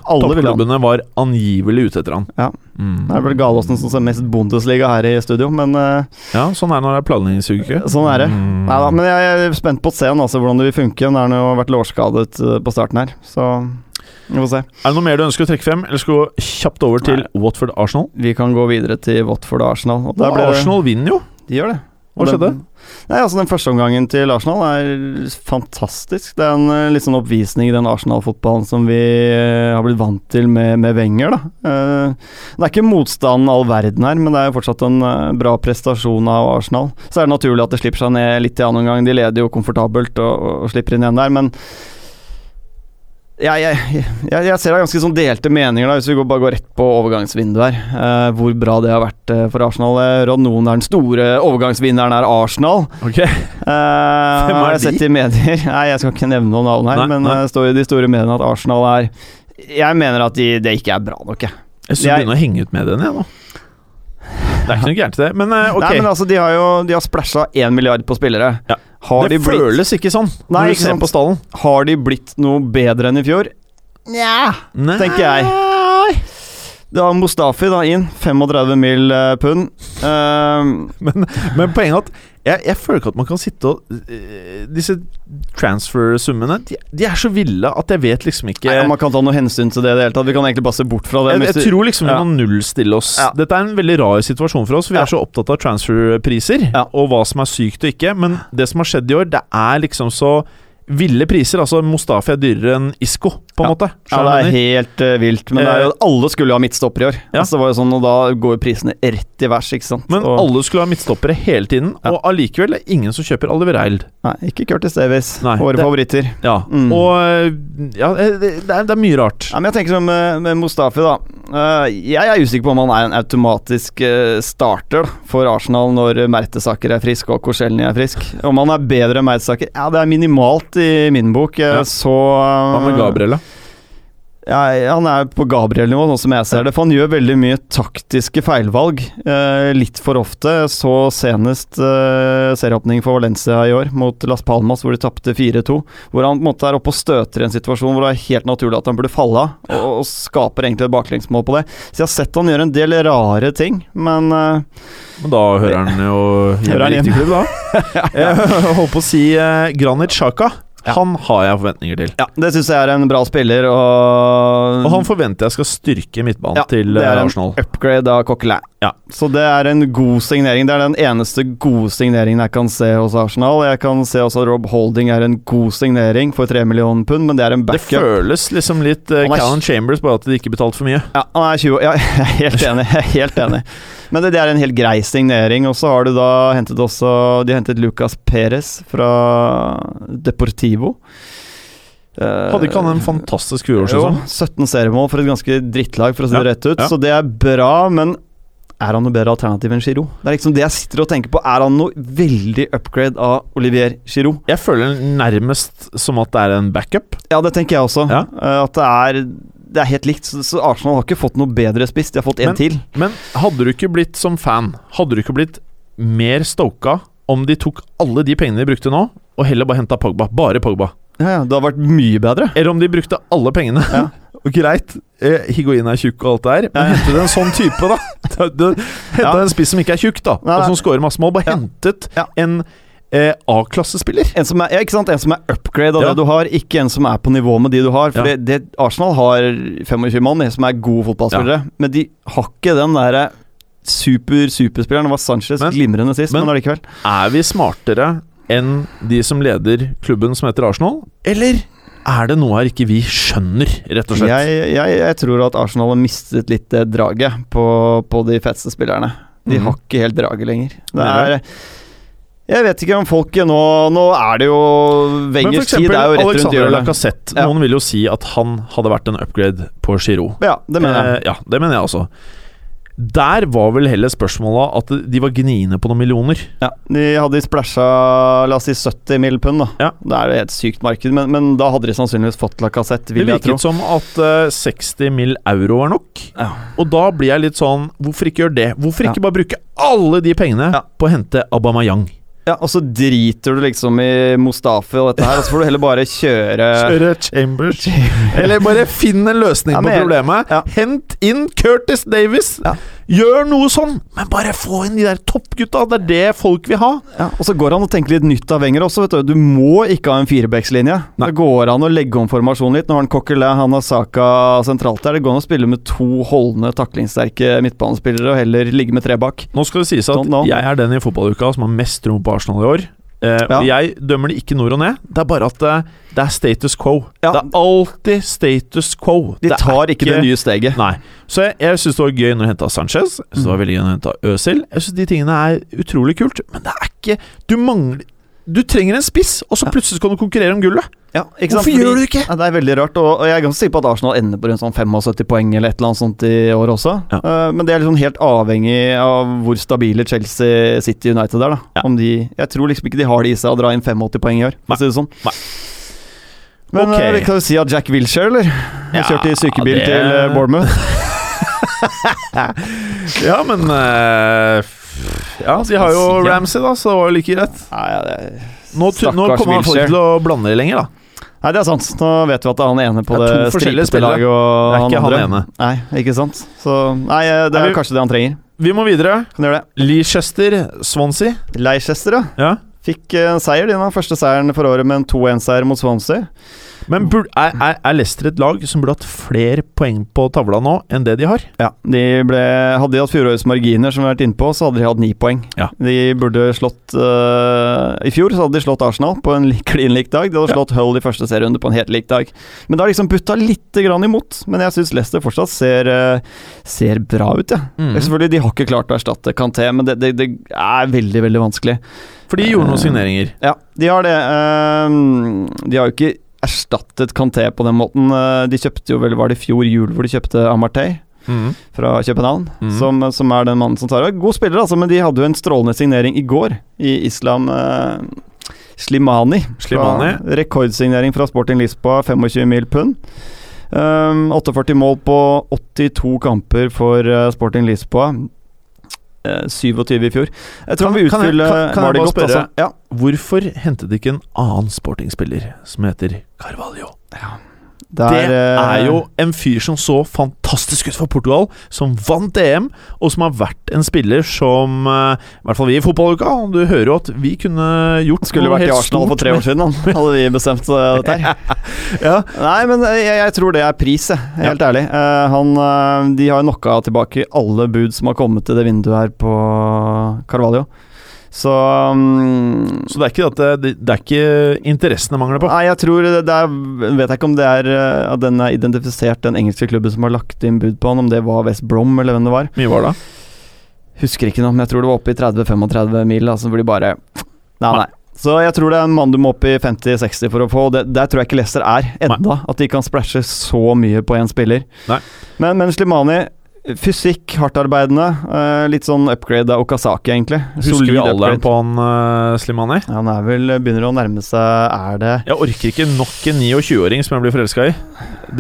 han. toppklubbene var angivelig ute etter han. Ja. Mm. Det er vel Galåsen som ser mest Bundesliga her i studio, men eh, Ja, sånn er det når det er planleggingsuke. Sånn er det. Mm. Nei da, men jeg jeg er spent på å se han, altså, hvordan det vil funke. Nå har han jo vært lårskadet eh, på starten her, så vi får se. Er det noe mer du ønsker å trekke frem, eller skal vi gå kjapt over til Watford-Arsenal? Vi kan gå videre til Watford og Arsenal. Og der Og ble det- Arsenal vinner jo! De gjør det. Hva Og den- skjedde? Nei, altså Den første omgangen til Arsenal er fantastisk. Det er en eh, litt sånn oppvisning i den Arsenal-fotballen som vi eh, har blitt vant til med, med Wenger. Da. Eh, det er ikke motstanden all verden her, men det er jo fortsatt en eh, bra prestasjon av Arsenal. Så er det naturlig at det slipper seg ned litt i annen omgang. De leder jo komfortabelt og, og slipper inn igjen der, men jeg, jeg, jeg, jeg ser det er ganske sånn delte meninger, da hvis vi går, bare går rett på overgangsvinduet her. Eh, hvor bra det har vært eh, for Arsenal. Jeg hører at noen er den store overgangsvinneren er Arsenal. Ok, Eh, har jeg de? sett i medier? Nei, jeg skal ikke nevne noen navn her, Nei, men nei. eh, det står i de store mediene at Arsenal er Jeg mener at de, det ikke er bra nok, jeg. Jeg syns du Jeg- begynner å henge ut med den, jeg nå. Det er ikke noe gærent i det, men eh, ok. Nei, men altså, de har jo De har splæsja én milliard på spillere. Ja. Har, det de blitt, føles ikke sånn Nei, når ikke du ser sant. på stallen. har de blitt noe bedre enn i fjor? Nja, Nei. tenker jeg. Det var Mustafi da inn. 35 mill. pund. Eh, Men, men poenget er at jeg, jeg føler ikke at man kan sitte og eh, Disse transfer-summene de, de er så ville at jeg vet liksom ikke nei, man kan ta noe hensyn til det i det hele tatt. Vi kan egentlig bare se bort fra det. jeg, mens jeg vi- tror liksom ja. vi må nullstille oss. Ja. Dette er en veldig rar situasjon for oss. for Vi Ja. er så opptatt av transferpriser Ja. og hva som er sykt og ikke. Men det som har skjedd i år, det er liksom så ville priser. Altså Mustafi er dyrere enn Isco, på en Ja. måte. Ja, det er helt eh, vilt. Men det er jo, alle skulle jo ha midtstopper i år. Ja. Altså, det var jo sånn, og da går jo prisene rett i værs, ikke sant. Men og, alle skulle ha midtstoppere hele tiden, og allikevel er det ingen som kjøper Alvereild. Nei, ikke Curtis Davis. Nei, Våre det- favoritter. Ja. Mm. Og ja, det, det, er, det er mye rart. Ja, men jeg tenker som med, med Mustafi, da. Eh, jeg er usikker på om han er en automatisk eh, starter da, for Arsenal når eh, Mertesaker er frisk og Korselny er frisk. Om han er bedre enn Mertesaker? Ja, det er minimalt i min bok. eh, Ja. Så eh, Hva med Gabriella? Ja, han er på Gabriel-nivå, sånn som jeg ser det. For han gjør veldig mye taktiske feilvalg. eh, litt for ofte. Så senest eh, serieåpning for Valencia i år, mot Las Palmas, hvor de tapte 4-2. Hvor han på en måte er oppe og støter i en situasjon hvor det er helt naturlig at han burde falle av. Og, og skaper egentlig et baklengsmål på det. Så jeg har sett han gjøre en del rare ting, men eh, Men da hører han jo Hører han riktig klubb, da. Jeg holdt på å si eh, Granit Xhaka. Ja. Han har jeg forventninger til. ja, det syns jeg er en bra spiller, og, Og han forventer jeg skal styrke midtbanen Ja, til det eh, er en Arsenal. Upgrade av Coquelin. Ja. Så det er en god signering. Det er den eneste gode signeringen jeg kan se hos Arsenal. Jeg kan se også at Rob Holding er en god signering for 3 millioner pund, men det er en Det backup. føles liksom litt eh, Han er- Eh, Callum Chambers, bare at de ikke betalte for mye. Ja, han er 20 år. Ja, jeg er helt enig. Jeg er helt enig. Men det, det er en helt grei signering. Og så har du da hentet også De har hentet Lucas Perez fra Deportivo. Eh, Hadde ikke han en fantastisk liksom? jo, fjorårssesong? 17 seriemål for et ganske drittlag, for å si det Ja, rett ut. ja. Så det er bra, men er han noe bedre alternativ enn Giroud? Det er liksom det jeg sitter og tenker på. Er han noe veldig upgrade av Olivier Giroud? Jeg føler nærmest som at det er en backup. Ja, det tenker jeg også. Ja. Eh, At det er, det er helt likt. Så, så Arsenal har ikke fått noe bedre spiss, de har fått én Men- til. Men hadde du ikke blitt som fan, hadde du ikke blitt mer stoka om de tok alle de pengene de brukte nå, og heller bare henta Pogba? Bare Pogba. Ja, ja, det har vært mye bedre. Eller om de brukte alle pengene. Ja. Og Greit, eh, Higuain er tjukk og alt det her, men Ja. hentet du en sånn type, da? Da- Du henta Ja. en spiss som ikke er tjukk, da, Nei, og nei. som scorer masse mål. Bare Ja. hentet Ja. en eh, A-klassespiller. En som er, ja, ikke sant? En som er upgrade av Ja. det du har, ikke en som er på nivå med de du har. For Ja. det, det, Arsenal har 25 mann de, som er gode fotballspillere, men de har ikke den derre super-superspilleren. Det var Sanchez Men- glimrende sist, men- men allikevel. Er vi smartere enn de som leder klubben som heter Arsenal? Eller er det noe her ikke vi skjønner, rett og slett? Jeg, jeg, jeg tror at Arsenal har mistet litt det draget på, på de feteste spillerne. De Mhm. har ikke helt draget lenger. Det Mener er Jeg vet ikke om folk nå Nå er det jo Men for Wengers tid eksempel er jo rett rundt Alexander hjørnet. Lacassette. Ja. Noen vil jo si at han hadde vært en upgrade på Giroud. Ja, det mener jeg. Eh, ja, det mener jeg også. Der var vel heller spørsmålet at de var gniende på noen millioner. Ja, De hadde splæsja la oss si 70 mill. pund, da. Ja. Det er jo et sykt marked, men, men da hadde de sannsynligvis fått lakassett, Det vil jeg tro. virket som at eh, 60 mill. euro er nok. Ja. Og da blir jeg litt sånn Hvorfor ikke gjøre det? Hvorfor Ja. ikke bare bruke alle de pengene Ja. på å hente Abamayang? Ja, og så driter du liksom i Mustafi og dette her, og så får du heller bare kjøre Chambers. Eller bare finn en løsning Ja, på men- problemet. ja. Hent inn Curtis Davis. Ja. Gjør noe sånn, men bare få inn de der toppgutta. Det er det folk vil ha. Ja, og så går det an å tenke litt nytt av Wenger også, vet du. Du må ikke ha en firebackslinje. Nei. Det går an å legge om formasjonen litt. Nå har han Coquelin, han har Saka sentralt der. Det går an å spille med to holdende, taklingssterke midtbanespillere, og heller ligge med tre bak. Nå skal det sies Don't at know. jeg er den i fotballuka som har mest tro på Arsenal i år. Eh, og Ja. Jeg dømmer det ikke nord og ned. Det er bare at eh, det er status quo. Ja. Det er alltid status quo. De Det er tar ikke det nye steget. Nei. Så jeg, jeg syns det var gøy når jeg henta Sanchez. Jeg synes det Mm. var veldig gøy når jeg henta Øzil. Jeg syns de tingene er utrolig kult, men det er ikke Du mangler Du trenger en spiss, og så plutselig skal du konkurrere om gullet. Ja, ikke sant? Hvorfor Fordi- gjør du det ikke? Ja, det er veldig rart, og, og jeg er ganske sikker på at Arsenal ender på rundt sånn 75 poeng eller et eller annet sånt i år også. Ja. Eh, men det er liksom helt avhengig av hvor stabile Chelsea City United er. da Ja. Om de, Jeg tror liksom ikke de har det i seg å dra inn 85 poeng i år, for Nei. å si det sånn. Nei. Men Ok. eh, vi kan jo si at Jack Wilshere, eller? Han Ja, kjørte i sykebil det- til eh, Bournemouth. Ja, men eh, f- Ja, de har jo man si, ja? Ramsey, da, så det var jo like greit. Nei, ja, det, Nå, tu- nå Stakkars kommer han folk Wilshere. til å blande det lenger, da. nei, det er sant. Nå vet vi at det er han ene på Det det, er to forskjellige stripete spillere. laget og Det er ikke han andre. ene. Nei, ikke sant. Så nei, eh, det Er er vi- jo kanskje det han trenger. Vi må videre. Kan gjøre det. Leicester, Swansea. Leicester, ja. Ja. Fikk eh, seier, din da. Første seieren for året med en 2-1-seier mot Swansea. Men bur- er, er, er Leicester et lag som burde hatt flere poeng på tavla nå enn det de har? Ja, de ble, Hadde de hatt fjorårets marginer, som vi har vært inne på, så hadde de hatt ni poeng. Ja. De burde slått eh, I fjor så hadde de slått Arsenal på en li- klin lik dag. De hadde slått Hull i første serierunde på en helt lik dag. Men det har liksom butta litt grann imot. Men jeg syns Leicester fortsatt ser, eh, ser bra ut, jeg. Mm. Ja. Selvfølgelig, de har ikke klart å erstatte Kanté, men det, det, det er veldig, veldig vanskelig. For de gjorde noen signeringer. Ja, de har det. Ehm, De har jo ikke erstattet Kanté på den måten. Eh, De kjøpte jo vel, var det i fjor jul hvor de kjøpte Amartey? fra København, Mhm. som, som er den mannen som tar over. God spiller, altså, men de hadde jo en strålende signering i går i Islam eh, Slimani. Slimani. Fra, rekordsignering fra Sporting Lisboa, 25 mil pund. Um, 48 mål på 82 kamper for eh, Sporting Lisboa. Eh, 27 i fjor. Jeg tror Kan- vi kan jeg- utfyller kan- kan jeg var det bare godt, spørre? altså. Ja. Hvorfor hentet de ikke en annen sportingspiller som heter Carvalho? Der, det eh, er jo en fyr som så fantastisk ut for Portugal, som vant EM, og som har vært en spiller som eh, I hvert fall vi i fotballuka, du hører jo at vi kunne gjort Skulle noe vært i helt Arsenal for stort tre år med- siden, han, hadde vi bestemt eh, dette her. Ja. Nei, men eh, jeg, jeg tror det er pris, jeg. Helt ærlig. Eh, han, eh, de har knocka tilbake alle bud som har kommet til det vinduet her på Carvalho. Så mm, Så det er ikke at det, det er ikke interessene mangler på. Nei, jeg tror det, det er Vet jeg ikke om det er eh, at den er identifisert, den engelske klubben som har lagt inn bud på han, om det var West Brom eller hvem det var. Mye var det? Husker ikke noe, men jeg tror det var oppe i 30-35 mil, altså hvor de bare Nei, nei. Så jeg tror det er en mann du må opp i 50-60 for å få, og det, der tror jeg ikke Leicester er enda. At de kan splæsje så mye på én spiller. Nei. Men, men Slimani Fysikk, hardtarbeidende. eh, litt sånn upgrade av Okasaki, egentlig. Husker Solid vi alderen upgrade. på han eh, Slimani? Ja, Han er vel begynner å nærme seg Er det Jeg orker ikke nok en 29-åring som jeg blir forelska i.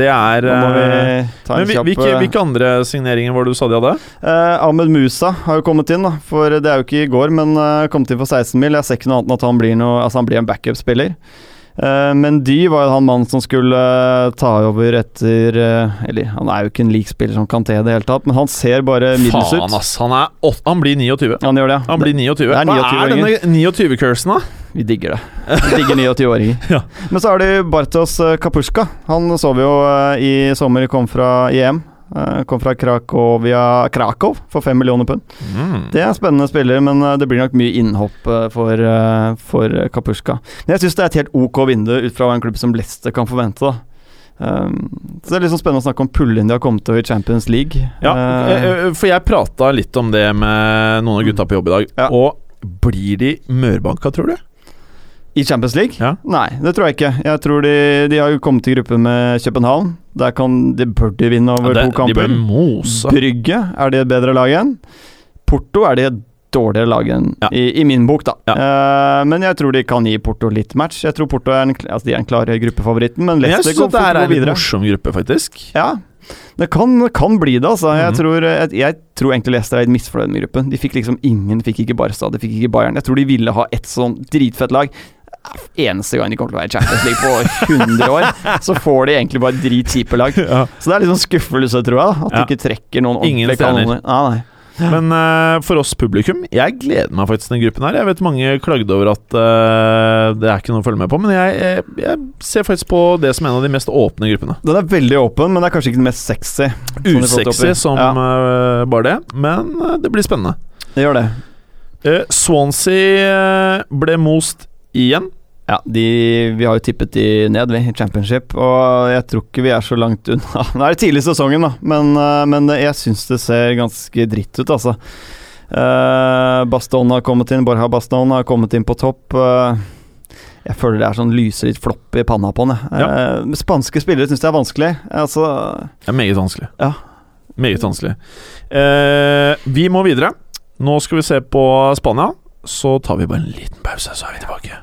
Det er Nå må vi eh, ta Men en hvil- kjapp hvilke, eh, hvilke andre signeringer var det du sa de hadde? Eh, Ahmed Musa har jo kommet inn, da. For det er jo ikke i går, men uh, kommet inn for 16 mil. Jeg ser ikke noe annet enn at han blir, noe, altså han blir en backup-spiller. Eh, men Dy var jo han mannen som skulle eh, ta over etter eh, Eller han er jo ikke en lik spiller som Kanté i det hele tatt, men han ser bare middels ut. Faen, ass. Han, er åt, han blir 29. Han gjør det, ja. Han blir 29. det er Hva er 29-åringer. denne 29-cursen, da? Vi digger det. Vi digger 29-åringer. Ja. Men så har de Bartos eh, Kapuska. Han så vi jo eh, i sommer kom fra EM. Eh, Kom fra Krakovia Krakow for fem millioner pund. Mm. Det er en spennende spiller, men eh, det blir nok mye innhopp eh, for, eh, for eh, Kapuska. Men jeg syns det er et helt ok vindu ut fra hva en klubb som Leicester kan forvente. da. Um, så det er litt sånn spennende å snakke om pullen de har kommet til i Champions League. Ja, Eh, eh, eh, for jeg prata litt om det med noen av gutta på jobb i dag. Ja. Og blir de mørbanka, tror du? I Champions League? Ja. Nei, det tror jeg ikke. Jeg tror de, de har jo kommet i gruppe med København. Der kan, de bør de vinne over det, to kamper. de bør mose. Brygge, er de et bedre lag enn? Porto er de et dårligere lag enn, Ja. i, i min bok, da. Eh, men jeg tror de kan gi Porto litt match. Jeg tror Porto er en, kl- altså de er en klare gruppefavoritten, men Men jeg Leicester syns kan det fort her gå er en litt videre. morsom gruppe, faktisk. Ja, det kan, kan bli det, altså. Jeg, Mhm. tror, jeg, jeg tror egentlig Leicester er litt misfornøyd med gruppen. De fikk liksom ingen, fikk ikke Barca, de fikk ikke Bayern. Jeg tror de ville ha et sånn dritfett lag. Eneste gang de kommer til å være i Champions League på 100 år, så får de egentlig bare dritkjipe lag. Så det er litt sånn skuffelse, tror jeg, da, at Ja. de ikke trekker noen Ingen ordentlige stjerner. kanoner. Nei, nei. Men eh, for oss publikum, jeg gleder meg faktisk til den gruppen her. Jeg vet mange klagde over at eh, det er ikke noe å følge med på, men jeg, jeg, jeg ser faktisk på det som en av de mest åpne gruppene. Den er veldig åpen, men det er kanskje ikke den mest sexy. vi har fått Usexy oppi. som eh, bare det, men eh, det blir spennende. Det gjør det. Eh, Swansea eh, ble most igjen. Ja, de, Vi har jo tippet de ned, vi, i championship. Og jeg tror ikke vi er så langt unna. Nå er det tidlig i sesongen, da, men, eh, men jeg syns det ser ganske dritt ut, altså. Eh, Baston har kommet inn, Borja Baston har kommet inn på topp. eh, jeg føler det er sånn lyser litt flopp i panna på han. jeg. Eh, spanske spillere syns jeg er vanskelig. Altså, Det er meget vanskelig. Ja. Meget vanskelig. Eh, vi må videre. Nå skal vi se på Spania. Så tar vi bare en liten pause, så er vi tilbake.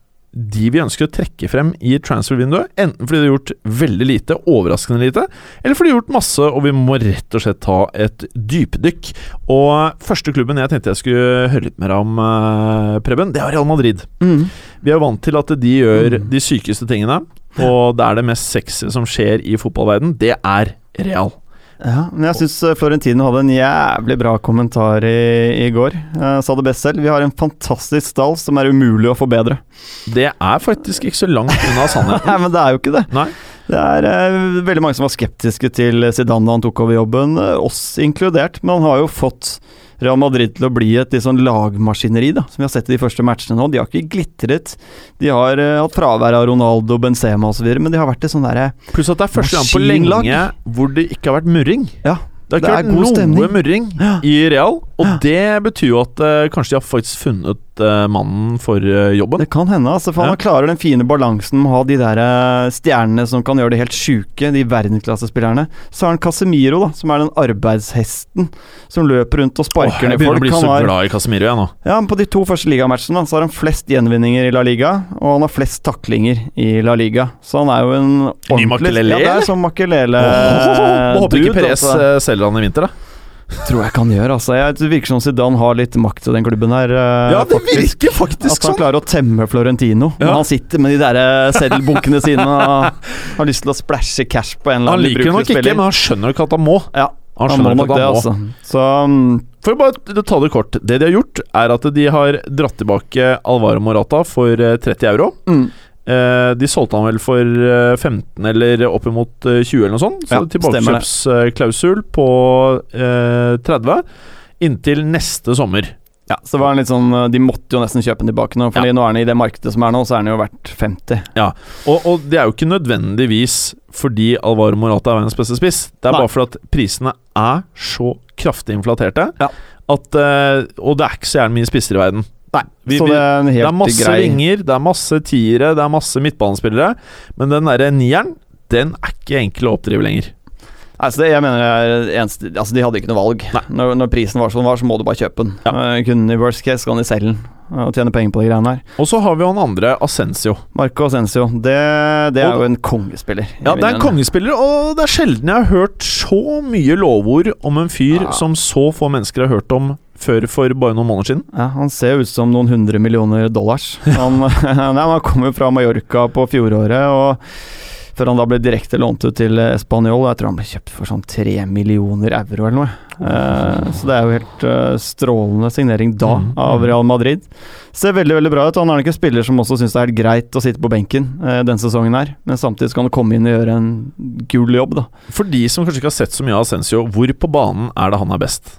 de vi ønsker å trekke frem i transfer-vinduet. Enten fordi de har gjort veldig lite, overraskende lite, eller fordi de har gjort masse og vi må rett og slett ta et dypdykk. Og første klubben jeg tenkte jeg skulle høre litt mer om, eh, Preben, det er Real Madrid. Mm. Vi er jo vant til at de gjør de sykeste tingene, og det er det mest sexy som skjer i fotballverden, det er Real. Ja, men jeg syns Florentino hadde en jævlig bra kommentar i, i går. Eh, sa det best selv. Vi har en fantastisk stall som er umulig å forbedre. Det er faktisk ikke så langt unna sannheten. Nei, men det er jo ikke det. Nei. Det er eh, veldig mange som var skeptiske til Zidane da han tok over jobben, eh, oss inkludert. Men han har jo fått Real Madrid til å bli et litt sånn lagmaskineri, da, som vi har sett i de første matchene nå. De har ikke glitret. De har eh, hatt fravær av Ronaldo, Benzema osv., men de har vært et sånn derre Pluss at det er første gang på Maskinlag. lenge hvor det ikke har vært murring. Ja, Det har Det ikke er vært god noe stemning. murring i Real, og det betyr jo at eh, kanskje de har faktisk funnet eh, mannen for eh, jobben. Det kan hende, altså, for Ja. han klarer den fine balansen med å ha de der eh, stjernene som kan gjøre det helt sjuke, de verdensklassespillerne. Så har han Casemiro, da, som er den arbeidshesten som løper rundt og Åh, sparker jeg ned begynner folk. å bli Han så har, glad i Casemiro, jeg nå. ja, men på de to første ligamatchene da, så har han flest gjenvinninger i La Liga, og han har flest taklinger i La Liga. Så han er jo en ordentlig Makelele, Ja, det eller? er sånn Makelele Åh, Håper ikke dude, Perez altså. eh, selger han i vinter, da. Tror jeg kan gjøre, altså. Jeg, det virker som Zidane har litt makt i den klubben her. eh, faktisk. virker faktisk sånn. At han klarer å temme Florentino. Men Ja. han sitter med de der eh, seddelbunkene sine og har lyst til å splæsje cash på en eller Han annen liker det nok ikke, men han skjønner ikke at han må. Ja, Han han må skjønner nok ikke at det, han må. altså. Så mm, For å bare ta det kort. Det de har gjort, er at de har dratt tilbake Alvaro Morata for eh, 30 euro. mm, Eh, de solgte han vel for eh, 15 eller oppimot eh, 20 eller noe sånt. Så Ja, tilbakekjøpsklausul på eh, 30 inntil neste sommer. ja, så var han litt sånn eh, De måtte jo nesten kjøpe den tilbake nå, Fordi nå er den i det markedet som er nå, så er den jo verdt 50. Og, og det er jo ikke nødvendigvis fordi Alvaro Morata er verdens beste spiss. Det er Nei. bare fordi at prisene er så kraftig inflaterte Ja. at eh, Og det er ikke så gjerne mye spisser i verden. Nei, Vi- så vi- det er en Det er helt masse grei ringer, det er masse tiere, det er masse midtbanespillere. Men den derre nieren, den er ikke enkel å oppdrive lenger. Altså det, jeg mener det er eneste, altså De hadde ikke noe valg. Når, når prisen var som den var, så må du bare kjøpe den. Ja. Eh, Kunden i worst case kan de selge den eh, og tjene penger på de greiene her. Og så har vi jo han andre, Ascencio. Marco Asensio, det, det er Og- jo en kongespiller. i Ja, det er en mine øyne. kongespiller, og det er sjelden jeg har hørt så mye lovord om en fyr Ja. som så få mennesker har hørt om før for bare noen måneder siden. Ja, han ser ut som noen hundre millioner dollars. Han, nei, men han kommer fra Mallorca på fjoråret, og før han da ble direkte lånt ut til Español. Jeg tror han ble kjøpt for sånn tre millioner euro eller noe. Eh, så det er jo helt eh, strålende signering da Mm, av mm. Real Madrid. Ser veldig veldig bra ut. Han er nok en spiller som også syns det er helt greit å sitte på benken eh, den sesongen her, men samtidig skal han komme inn og gjøre en gul jobb, da. For de som kanskje ikke har sett så mye av Ascencio, hvor på banen er det han er best?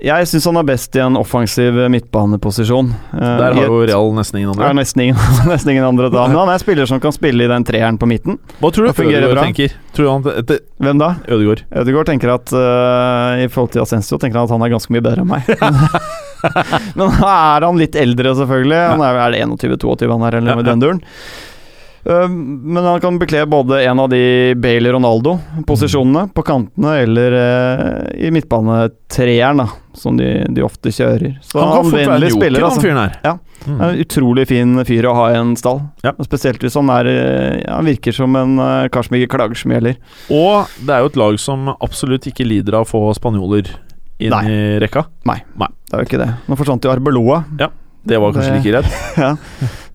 Jeg syns han er best i en offensiv eh, midtbaneposisjon. Eh, Der i har et- jo Real nesten ingen Det er andre. nesten ingen, nesten ingen andre da. Men han er en spiller som kan spille i den treeren på midten. Hva tror Det du fungerer Ødegaard bra. tenker? Tror du han etter Hvem da? Ødegaard? Ødegaard tenker at øh, i forhold til Asensio tenker han at han er ganske mye bedre enn meg. Men nå er han litt eldre, selvfølgelig. Han er, er det 21-22 han er, eller Ja, noe i ja. den duren? Øh, men han kan bekle både en av de Bailey Mm. Ronaldo-posisjonene på kantene eller øh, i midtbanetreeren, da, som de, de ofte kjører. Så Han kan fort være en anvendelig joker, spiller, altså. han fyren her. Ja. Mm. Det er en utrolig fin fyr å ha i en stall. Ja. Og Spesielt hvis han er eh, ja, Han virker som en eh, kar som ikke klager så mye heller. Og det er jo et lag som absolutt ikke lider av å få spanjoler inn Nei. i rekka. Det er jo ikke det. Nå forsvant jo Arbeloa Det var kanskje Det- like greit.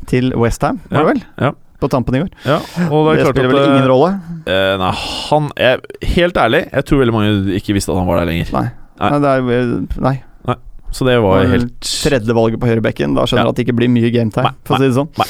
til Westham, var det vel? ja. På tampen i går. Ja, og det det er klart spiller at vel ingen rolle? eh, Nei, han er Helt ærlig, jeg tror veldig mange ikke visste at han var der lenger. Nei. Nei. Nei. det er, jo- nei. Så det var Det var helt Tredjevalget på høyrebekken. Da Ja. skjønner du at det ikke blir mye gametime, Nei, for å si det sånn. nei.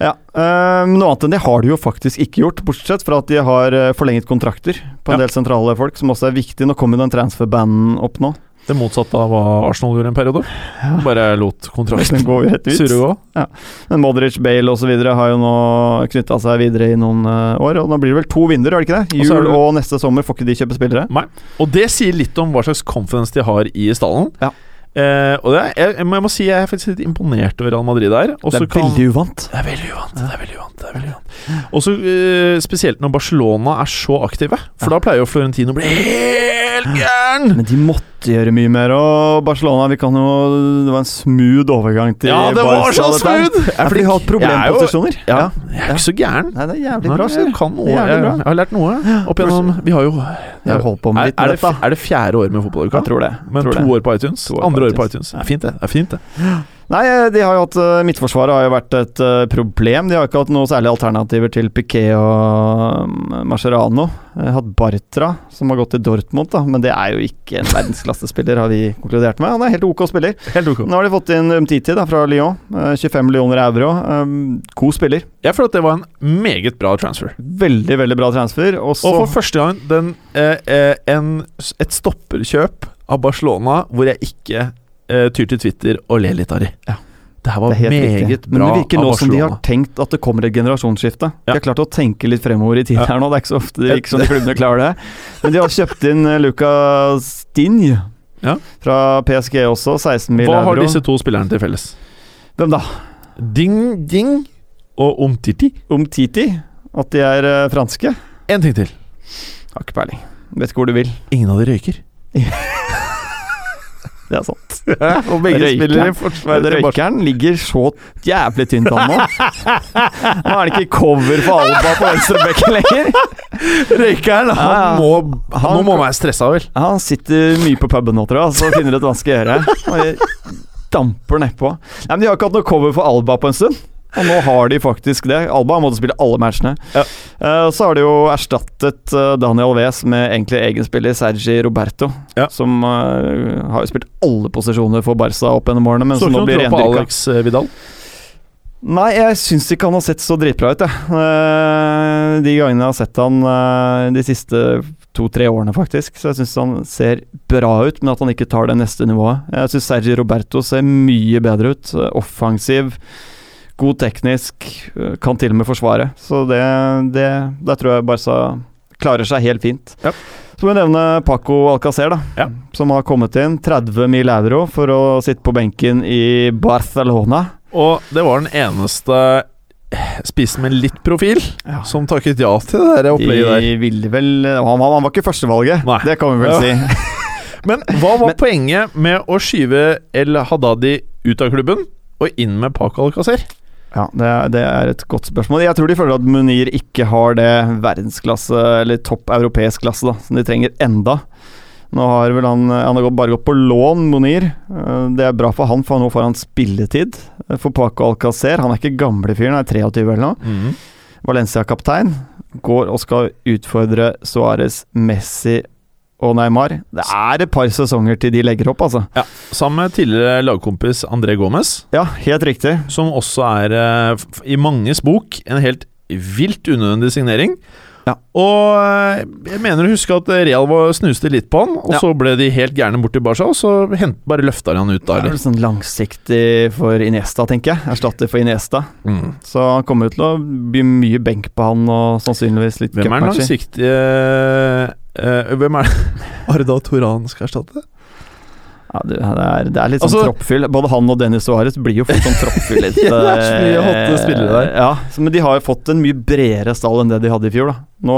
Ja, eh, Noe annet enn det har de jo faktisk ikke gjort, bortsett fra at de har eh, forlenget kontrakter på en Ja. del sentrale folk, som også er viktig. Nå kommer jo den transferbanden opp nå. det motsatte av hva Arsenal gjorde en periode. Ja. Bare lot kontrakten Den går jo rett ut. surre og gå. Men Modric, Bale osv. har jo nå knytta seg videre i noen eh, år. Og nå blir det vel to vinduer, er det ikke det? Og så er Jul det- og neste sommer får ikke de kjøpe spillere. Og det sier litt om hva slags confidence de har i stallen. Ja. Eh, og det er, jeg, jeg må- jeg må si jeg er faktisk litt imponert over Real Madrid der. Og så kan- uvant. Det er veldig uvant. Det er veldig uvant, det er veldig uvant. Også eh, spesielt når Barcelona er så aktive, for da pleier jo Florentino å bli helt gæren! Men de måtte gjøre mye mer, og Barcelona vi kan jo, Det var en smooth overgang til Ja, det var Barca, så dette her. smooth! Ja, for de har hatt problemposisjoner. Ja, jeg er ikke så gæren. Nei, det er jævlig Nei, bra. jeg Sjur. kan noe. Det er Jeg, jævlig bra. jeg har lært noe opp igjennom Vi har jo Jeg har holdt på med er, litt med er, det, dette. er det fjerde året med fotballuka? Jeg tror det. Men tror to det. år på iTunes? To år på Andre året på iTunes. iTunes. Det er fint, det. det er fint det Nei, de har jo hatt eh, Midtforsvaret har jo vært et eh, problem. De har ikke hatt noe særlig alternativer til Piquet og mm, Mascherano. Eh, Hatt Bartra, som har gått til Dortmund, da, men det er jo ikke en verdensklassespiller, har vi konkludert med. Han er helt ok spiller. Helt ok. Nå har de fått inn Umtiti da, fra Lyon. eh, 25 millioner euro. Um, god spiller. Jeg føler at det var en meget bra transfer. Veldig, veldig bra transfer. Og så Og for første gang den, eh, eh, en, et stopperkjøp av Barcelona hvor jeg ikke eh, tyr til Twitter og ler litt av de. Ja. Det her var det er helt meget riktig. bra Men det virker av nå som de har Barcelona. tenkt at det kommer et generasjonsskifte. Ja. De har klart å tenke litt fremover i tid Ja. her nå. Det er ikke så ofte det virker som de klubbene klarer det. Men de har kjøpt inn eh, Lucas Stinj Ja. fra PSG også. 16 mill. Hva har euro. disse to spillerne til felles? Hvem da? Ding Ding og Omtiti. Umtiti? At de er eh, franske? En ting til. Har ikke peiling. Vet ikke hvor du vil. Ingen av de røyker. Det er sant. og Røyker. forsvaret til Barcelona. Røykeren ligger så jævlig tynt an nå. Nå er det ikke cover for Alba på venstrebekken lenger. Røykeren, han, Ja, ja. Må, han, Han- nå må han være stressa, vel. Ja, han sitter mye på puben nå, tror jeg, så finner et vanskelig øre. Og damper nedpå. Nei, men De har ikke hatt noe cover for Alba på en stund. Og nå har de faktisk det. Alba har måttet spille alle matchene. Ja. Eh, så har de jo erstattet eh, Daniel Wes med egentlig egen spiller, Sergi Roberto. Ja. Som eh, har jo spilt alle posisjoner for Barca opp gjennom årene, men Så som nå ikke blir noe tro på rendyrka. Alex eh, Vidal. Nei, jeg syns ikke han har sett så dritbra ut, jeg. Eh, De gangene jeg har sett han eh, de siste to-tre årene, faktisk. Så jeg syns han ser bra ut, men at han ikke tar det neste nivået. Jeg syns Sergi Roberto ser mye bedre ut. Eh, Offensiv, god teknisk, eh, kan til og med forsvare. Så det, det Der tror jeg Barca klarer seg helt fint. Ja. Så må vi nevne Paco Alcacer, da. Ja. Som har kommet inn. 30 mil euro for å sitte på benken i Barcelona. Og det var den eneste eh, spissen med litt profil Ja. som takket ja til det der opplegget der. De ville vel han, han han var ikke førstevalget, Nei. det kan vi vel Ja. si. Men hva var poenget med å skyve El Hadadi ut av klubben og inn med Paco Alcacer? Ja, det er, det er et godt spørsmål. Jeg tror de føler at Munir ikke har det verdensklasse, eller topp europeisk klasse, da, som de trenger enda. Nå har vel han Han har gått- bare gått på lån, Munir. Eh, Det er bra for han, for nå får han spilletid. Eh, For Paco Alcacer, han er ikke gamle fyren, han er 23 eller noe. Mhm. Valencia-kaptein går og skal utfordre Suárez, Messi og Neymar. Det er et par sesonger til de legger opp, altså. Sammen med tidligere lagkompis André Gomez, Ja, helt riktig. som også er eh, f- i manges bok en helt vilt unødvendig signering. Ja. Og eh, jeg mener å huske at Real var, snuste litt på han, og Ja. så ble de helt gærne bort til Barca, og så hent, bare løfta de han ut Det da. er eller? vel sånn langsiktig for Iniesta, tenker jeg. Erstatter for Iniesta. Mm. Så han kommer jo til å bli mye benk på han, og sannsynligvis litt Hvem er den cupmatcher. langsiktige eh, Hvem er det Arda Toran skal erstatte? Ja, du, det, er, det er litt Altså- sånn troppfyll. Både han og Dennis Suárez blir jo fort sånn troppfyll litt. Ja, det er så mye hotte eh, spillere der. Ja, så, men de har jo fått en mye bredere stall enn det de hadde i fjor, da. Nå,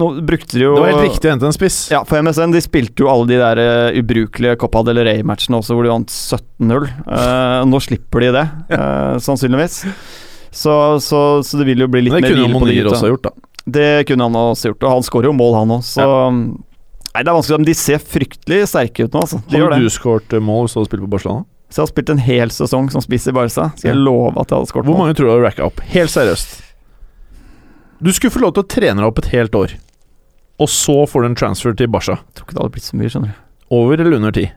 nå brukte de jo Det var helt riktig å hente en spiss. Ja, for MSN de spilte jo alle de der eh, ubrukelige Copa del Rey-matchene også, hvor de vant 17-0. Eh, nå slipper de det, eh, sannsynligvis. Så, så, så det vil jo bli litt Men det mer kunne hvile jo på de Monir gutta. også ha gjort, da. Det kunne han også gjort, og han skårer jo mål, han òg, så Nei, det er vanskelig, men de ser fryktelig sterke ut nå, altså. De gjør Hadde det. du skåret mål hvis du hadde spilt på Barcelona? Så jeg har spilt en hel sesong som spiss i Barca. Skal jeg Ja. love at jeg hadde skåret Hvor mål? mange tror du hadde racka opp? Helt seriøst. Du skulle få lov til å trene deg opp et helt år, og så får du en transfer til Barca. Jeg tror ikke det hadde blitt så mye, skjønner du. Over eller under ti?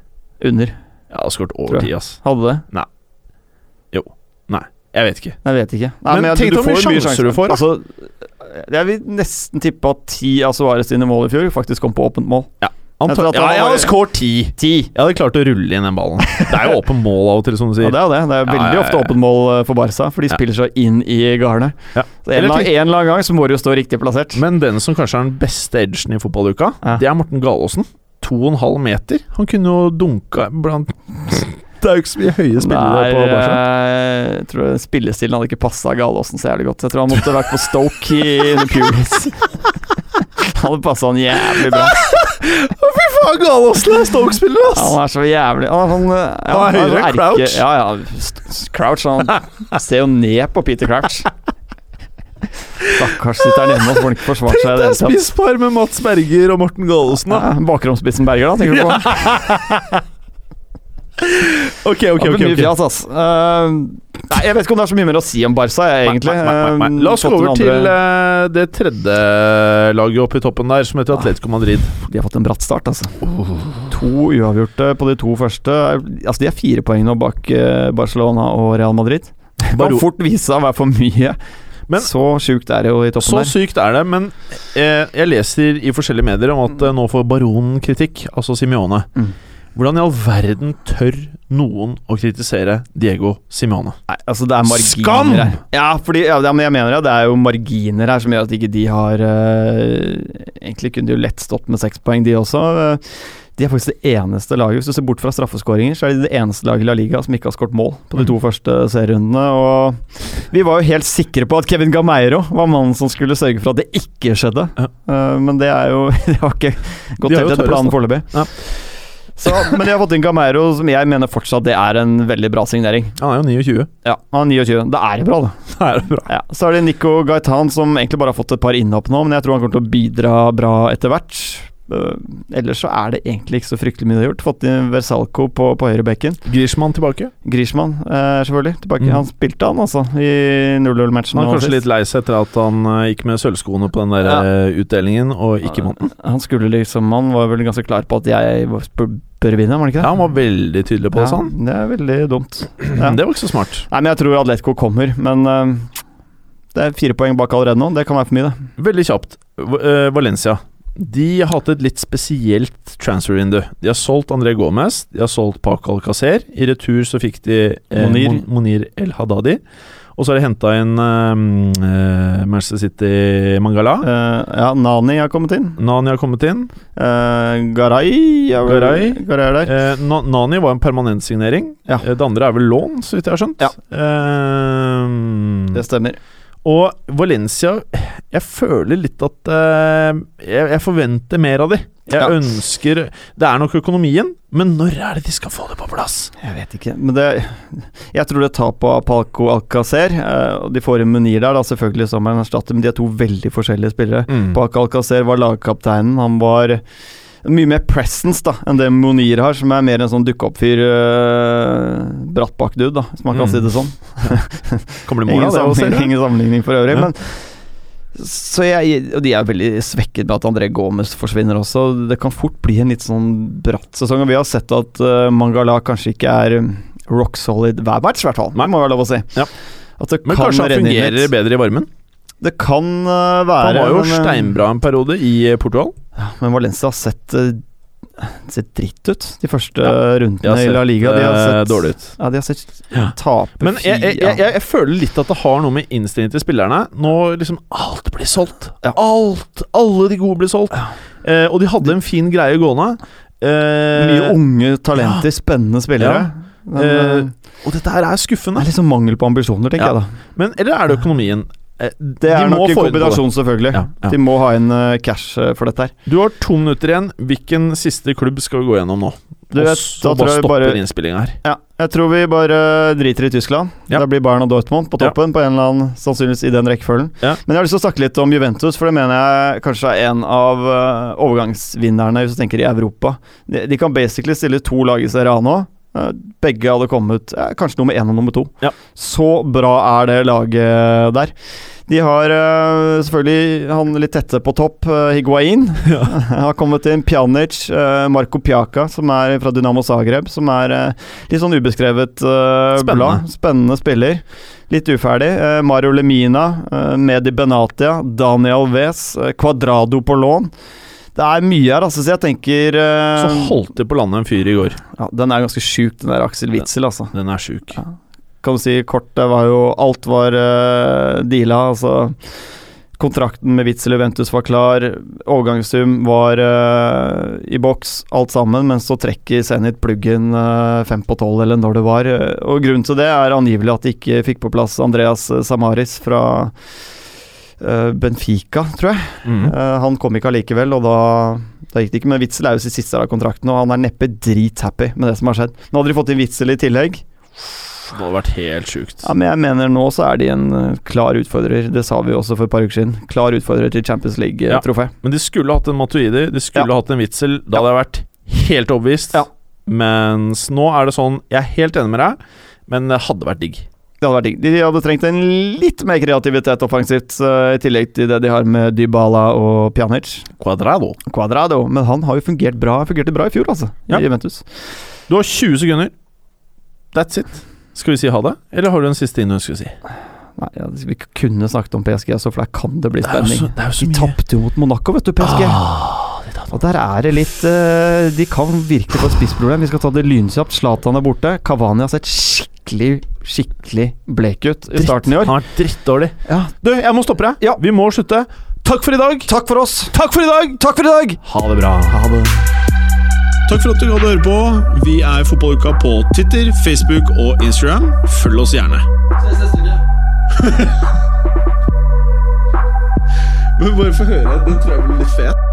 Under. Jeg hadde skåret Tror over jeg. ti, ass. Hadde det? Jeg vet ikke. Jeg vet ikke. Men jeg- tenk du deg hvor mye jo sjanser du får, da. Altså, jeg vil nesten tippe at ti av Suárez sine mål i fjor faktisk kom på åpent mål. Jeg tror Anta at ja, han jeg var- hadde skåret ti. Ti! Jeg hadde klart å rulle inn den ballen. Det er jo åpen mål av og til, som du sier. Ja, det er det. Det er Ja, ja, veldig ja. ofte åpent mål eh, for Barca, for de Ja. spiller så inn i garnet. Ja. Så en eller, Eller annen, en eller annen gang så må du jo stå riktig plassert. Men den som kanskje er den beste edgen i fotballuka, Ja. det er Morten Galaasen. To og en halv meter. Han kunne jo dunka blant Det er jo ikke så mye høye spillere Nei, på Barca. eh, jeg tror spillestilen hadde ikke passa Galaasen så jævlig godt. Jeg tror han måtte vært på Stoke i The Pulis. hadde passa han jævlig bra. Faen, Galåsen er Stoke-spiller, Ja, han er så jævlig Han er sånn eh, Han er ja, han er høyere, sånn erke- Crouch. Ja, ja. st- s- Crouch. Han ser jo ned på Peter Crouch. Stakkars sitter han hjemme og får ikke forsvart seg. i det Det er hele tatt. spisspar med Mats Berger og Morten Galåsen, da. Ja, Bakromspissen Berger, da, tenker du på? Ok, ok, Ja, ok. men mye ok. fjas, ass. Eh, nei, jeg vet ikke om det er så mye mer å si om Barca, jeg, egentlig. Nei, nei, nei, nei. La oss Eh, gå over fått til en andre- eh, det tredje laget oppe i toppen der, som heter Atletico Madrid. De har fått en bratt start, altså. To uavgjorte på de to første. Altså, de er fire poeng nå bak eh, Barcelona og Real Madrid. Det kan Baro- fort vise seg å være for mye. Men- så sjukt er det jo i toppen Så der. sykt er det, men eh, jeg leser i forskjellige medier om at eh, nå får baronen kritikk, altså Simione. Mm. Hvordan i all verden tør noen å kritisere Diego Simione? Nei, altså det er marginer Skam! her. Ja, fordi, ja, men jeg mener at det er jo marginer her som gjør at ikke de har eh, Egentlig kunne de jo lett stått med seks poeng, de også. Eh, de er faktisk det eneste laget, hvis du ser bort fra straffeskåringer, så er de det eneste laget i La Liga som ikke har skåret mål på de Mm. to første serierundene. Og vi var jo helt sikre på at Kevin Gameiro var mannen som skulle sørge for at det ikke skjedde. Ja. Eh, men det er jo Det har ikke gått De har jo helt etter tørrest, planen da. foreløpig. Ja. Så, Men de har fått inn Gameiro, som jeg mener fortsatt det er en veldig bra signering. Han er jo 29. Ja, han er 29. Da er det bra, da. Det er jo bra. Ja. Så er det Nico Gaitan, som egentlig bare har fått et par innhopp nå, men jeg tror han kommer til å bidra bra etter hvert. Eh, ellers så er det egentlig ikke så fryktelig mye de har gjort. Fått inn Versalco på, på høyre bekken. Griezmann tilbake. Griezmann, eh, selvfølgelig. Tilbake. Mm. Han spilte, han, altså, i 0-0-matchen. Han er nå kanskje sist. litt lei seg etter at han eh, gikk med sølvskoene på den der eh, utdelingen, og ikke vant. Han skulle liksom Han var vel ganske klar på at jeg var- bør bør vinne, var han ikke det? Ja, han var veldig tydelig på sånn. det, sa han. Ja, det er veldig dumt. Ja. Det var ikke så smart. Nei, men jeg tror Atletico kommer, men eh, det er fire poeng bak allerede nå. Det kan være for mye, det. Veldig kjapt. V- eh, Valencia. De har hatt et litt spesielt transfer-vindu. De har solgt André Gomez, de har solgt Paco Alcacer. I retur så fikk de eh, Monir. Mon- Monir El Hadadi. Og så har de henta inn eh, eh, Manchester City Mangala. Eh, ja, Nani har kommet inn. Nani har kommet inn. Eh, Garay ja, vel- Garay. Garay er der. Eh, Na Nani var en permanent signering. Ja. Eh, Det andre er vel lån, så vidt jeg har skjønt. Ja. Eh, Det stemmer. Og Valencia Jeg føler litt at eh, jeg, jeg forventer mer av de. Jeg Ja. ønsker Det er nok økonomien, men når er det de skal få det på plass? Jeg vet ikke, men det Jeg tror det er tap av Palco Alcacer. eh, og de får en Munir der, da, selvfølgelig som en erstatter, men de er to veldig forskjellige spillere. Mm. Paco Alcacer var lagkapteinen. Han var mye mer presence da enn det Monir har, som er mer en sånn dukke-opp-fyr. Uh, Brattbakk-dude, da, hvis man kan Mm. si det sånn. Kommer det mål Ingen av det? også, sammenligning, eller? ingen sammenligning for øvrig, Ja. men så jeg, og de er veldig svekket med at André Gomez forsvinner også. Det kan fort bli en litt sånn bratt sesong. Og vi har sett at eh, Mangala kanskje ikke er um, rock solid hver match, i hvert fall. Det må være lov å si. Ja. At det Men kan kanskje han renne inn fungerer litt. bedre i varmen? Det kan eh, være Han var jo men, eh, steinbra en periode i eh, Portugal. ja, Men Valencia har sett eh, Sett dritt ut de første eh, De har rundene i La Liga. De har eh, sett dårlig ut. Ja, de har sett Ja. tape Men jeg, jeg, fire- jeg, jeg, jeg føler litt at det har noe med innstillingen til spillerne. Nå liksom Alt blir solgt. Ja. Alt! Alle de gode blir solgt. Eh, og de hadde en fin greie gående. Eh, Mye unge talenter, spennende spillere. Men, Eh, eh, og dette her er Det skuffende. er liksom mangel på ambisjoner, tenker Ja. jeg da. Men eller er det økonomien? Eh, Det er de må nok en få inn noe. kombinasjon, selvfølgelig. Ja, ja. De må ha inn eh, cash eh, for dette her. Du har to minutter igjen. Hvilken siste klubb skal vi gå gjennom nå? Du og vet, så da tror bare jeg vi stopper bare- innspillinga her. Ja, jeg tror vi bare driter i Tyskland. Ja. Da blir Bayern og Dortmund på Ja. toppen, på en eller annen, sannsynligvis i den rekkefølgen. Ja. Men jeg har lyst til å snakke litt om Juventus, for det mener jeg kanskje er en av eh, overgangsvinnerne, hvis du tenker i Europa. De, de kan basically stille to lag i Serie A nå. Eh, Begge hadde kommet eh, kanskje nummer én og nummer to. Ja. Så bra er det laget eh, der. De har eh, selvfølgelig han litt tette på topp, eh, Higuain. har kommet inn Pjanic, eh, Marko Pjaka, som er fra Dynamo Zagreb, som er eh, litt sånn ubeskrevet eh, Spennende. blad. Spennende spiller. Litt uferdig. Eh, Mario Lemina, eh, Medi Benatia, Daniel Wes, eh, Quadrado på lån. Det er mye her, altså, så jeg tenker eh, Så holdt det på landet en fyr i går. ja, Den er ganske sjuk, den der Aksel Witzel, altså. Den er sjuk. Kan du si kort, det var jo Alt var eh, deala, altså. Kontrakten med Witzel og Juventus var klar, overgangssum var eh, i boks, alt sammen, men så trekker Zenit pluggen eh, fem på tolv, eller når det var. eh, Og grunnen til det er angivelig at de ikke fikk på plass Andreas eh, Samaris fra eh, Benfica, tror jeg. Mm. Eh, han kom ikke allikevel, og da, da gikk det ikke. Men Witzel er jo sitt siste av kontrakten, og han er neppe drithappy med det som har skjedd. Nå hadde de fått inn Witzel i tillegg. Det hadde vært helt sjukt. Ja, men jeg mener nå så er de en eh, klar utfordrer. Det sa vi jo også for et par uker siden. Klar utfordrer til Champions Ja. League-trofé. Men de skulle hatt en Matuidi, de skulle hatt en Witzel. Da hadde jeg vært helt overbevist. Ja. Mens nå er det sånn Jeg er helt enig med deg, men det hadde vært digg. Det hadde vært digg. De hadde trengt en litt mer kreativitet offensivt, eh, i tillegg til det de har med Dybala og Pjanic. Quadrado. Quadrado, men han har jo fungert bra. Fungerte bra i fjor, altså, Ja. i Juventus. Du har 20 sekunder. That's it. Skal vi si ha det, eller har du en siste innhund? Si? Nei, ja, vi kunne snakket om PSG, altså, for der kan det bli Det er jo spenning. så- det er jo så De mye. Ah, tapte jo mot Monaco, vet du, PSG. og der er det litt eh, De kan virke på et spissproblem. Vi skal ta det lynkjapt. Zlatan er borte. Kavani har sett skikkelig, skikkelig blek ut i starten i år. Han har vært drittdårlig. Ja. Du, jeg må stoppe deg. Ja. Vi må slutte. Takk for i dag. Takk for oss! Takk for i dag! Takk for i dag! Ha det bra. Ha det. Takk for at du hadde høre på. Vi er Fotballuka på Titter, Facebook og Instagram. Følg oss gjerne. Ses neste uke. Men bare få høre. Den tror jeg blir litt fet.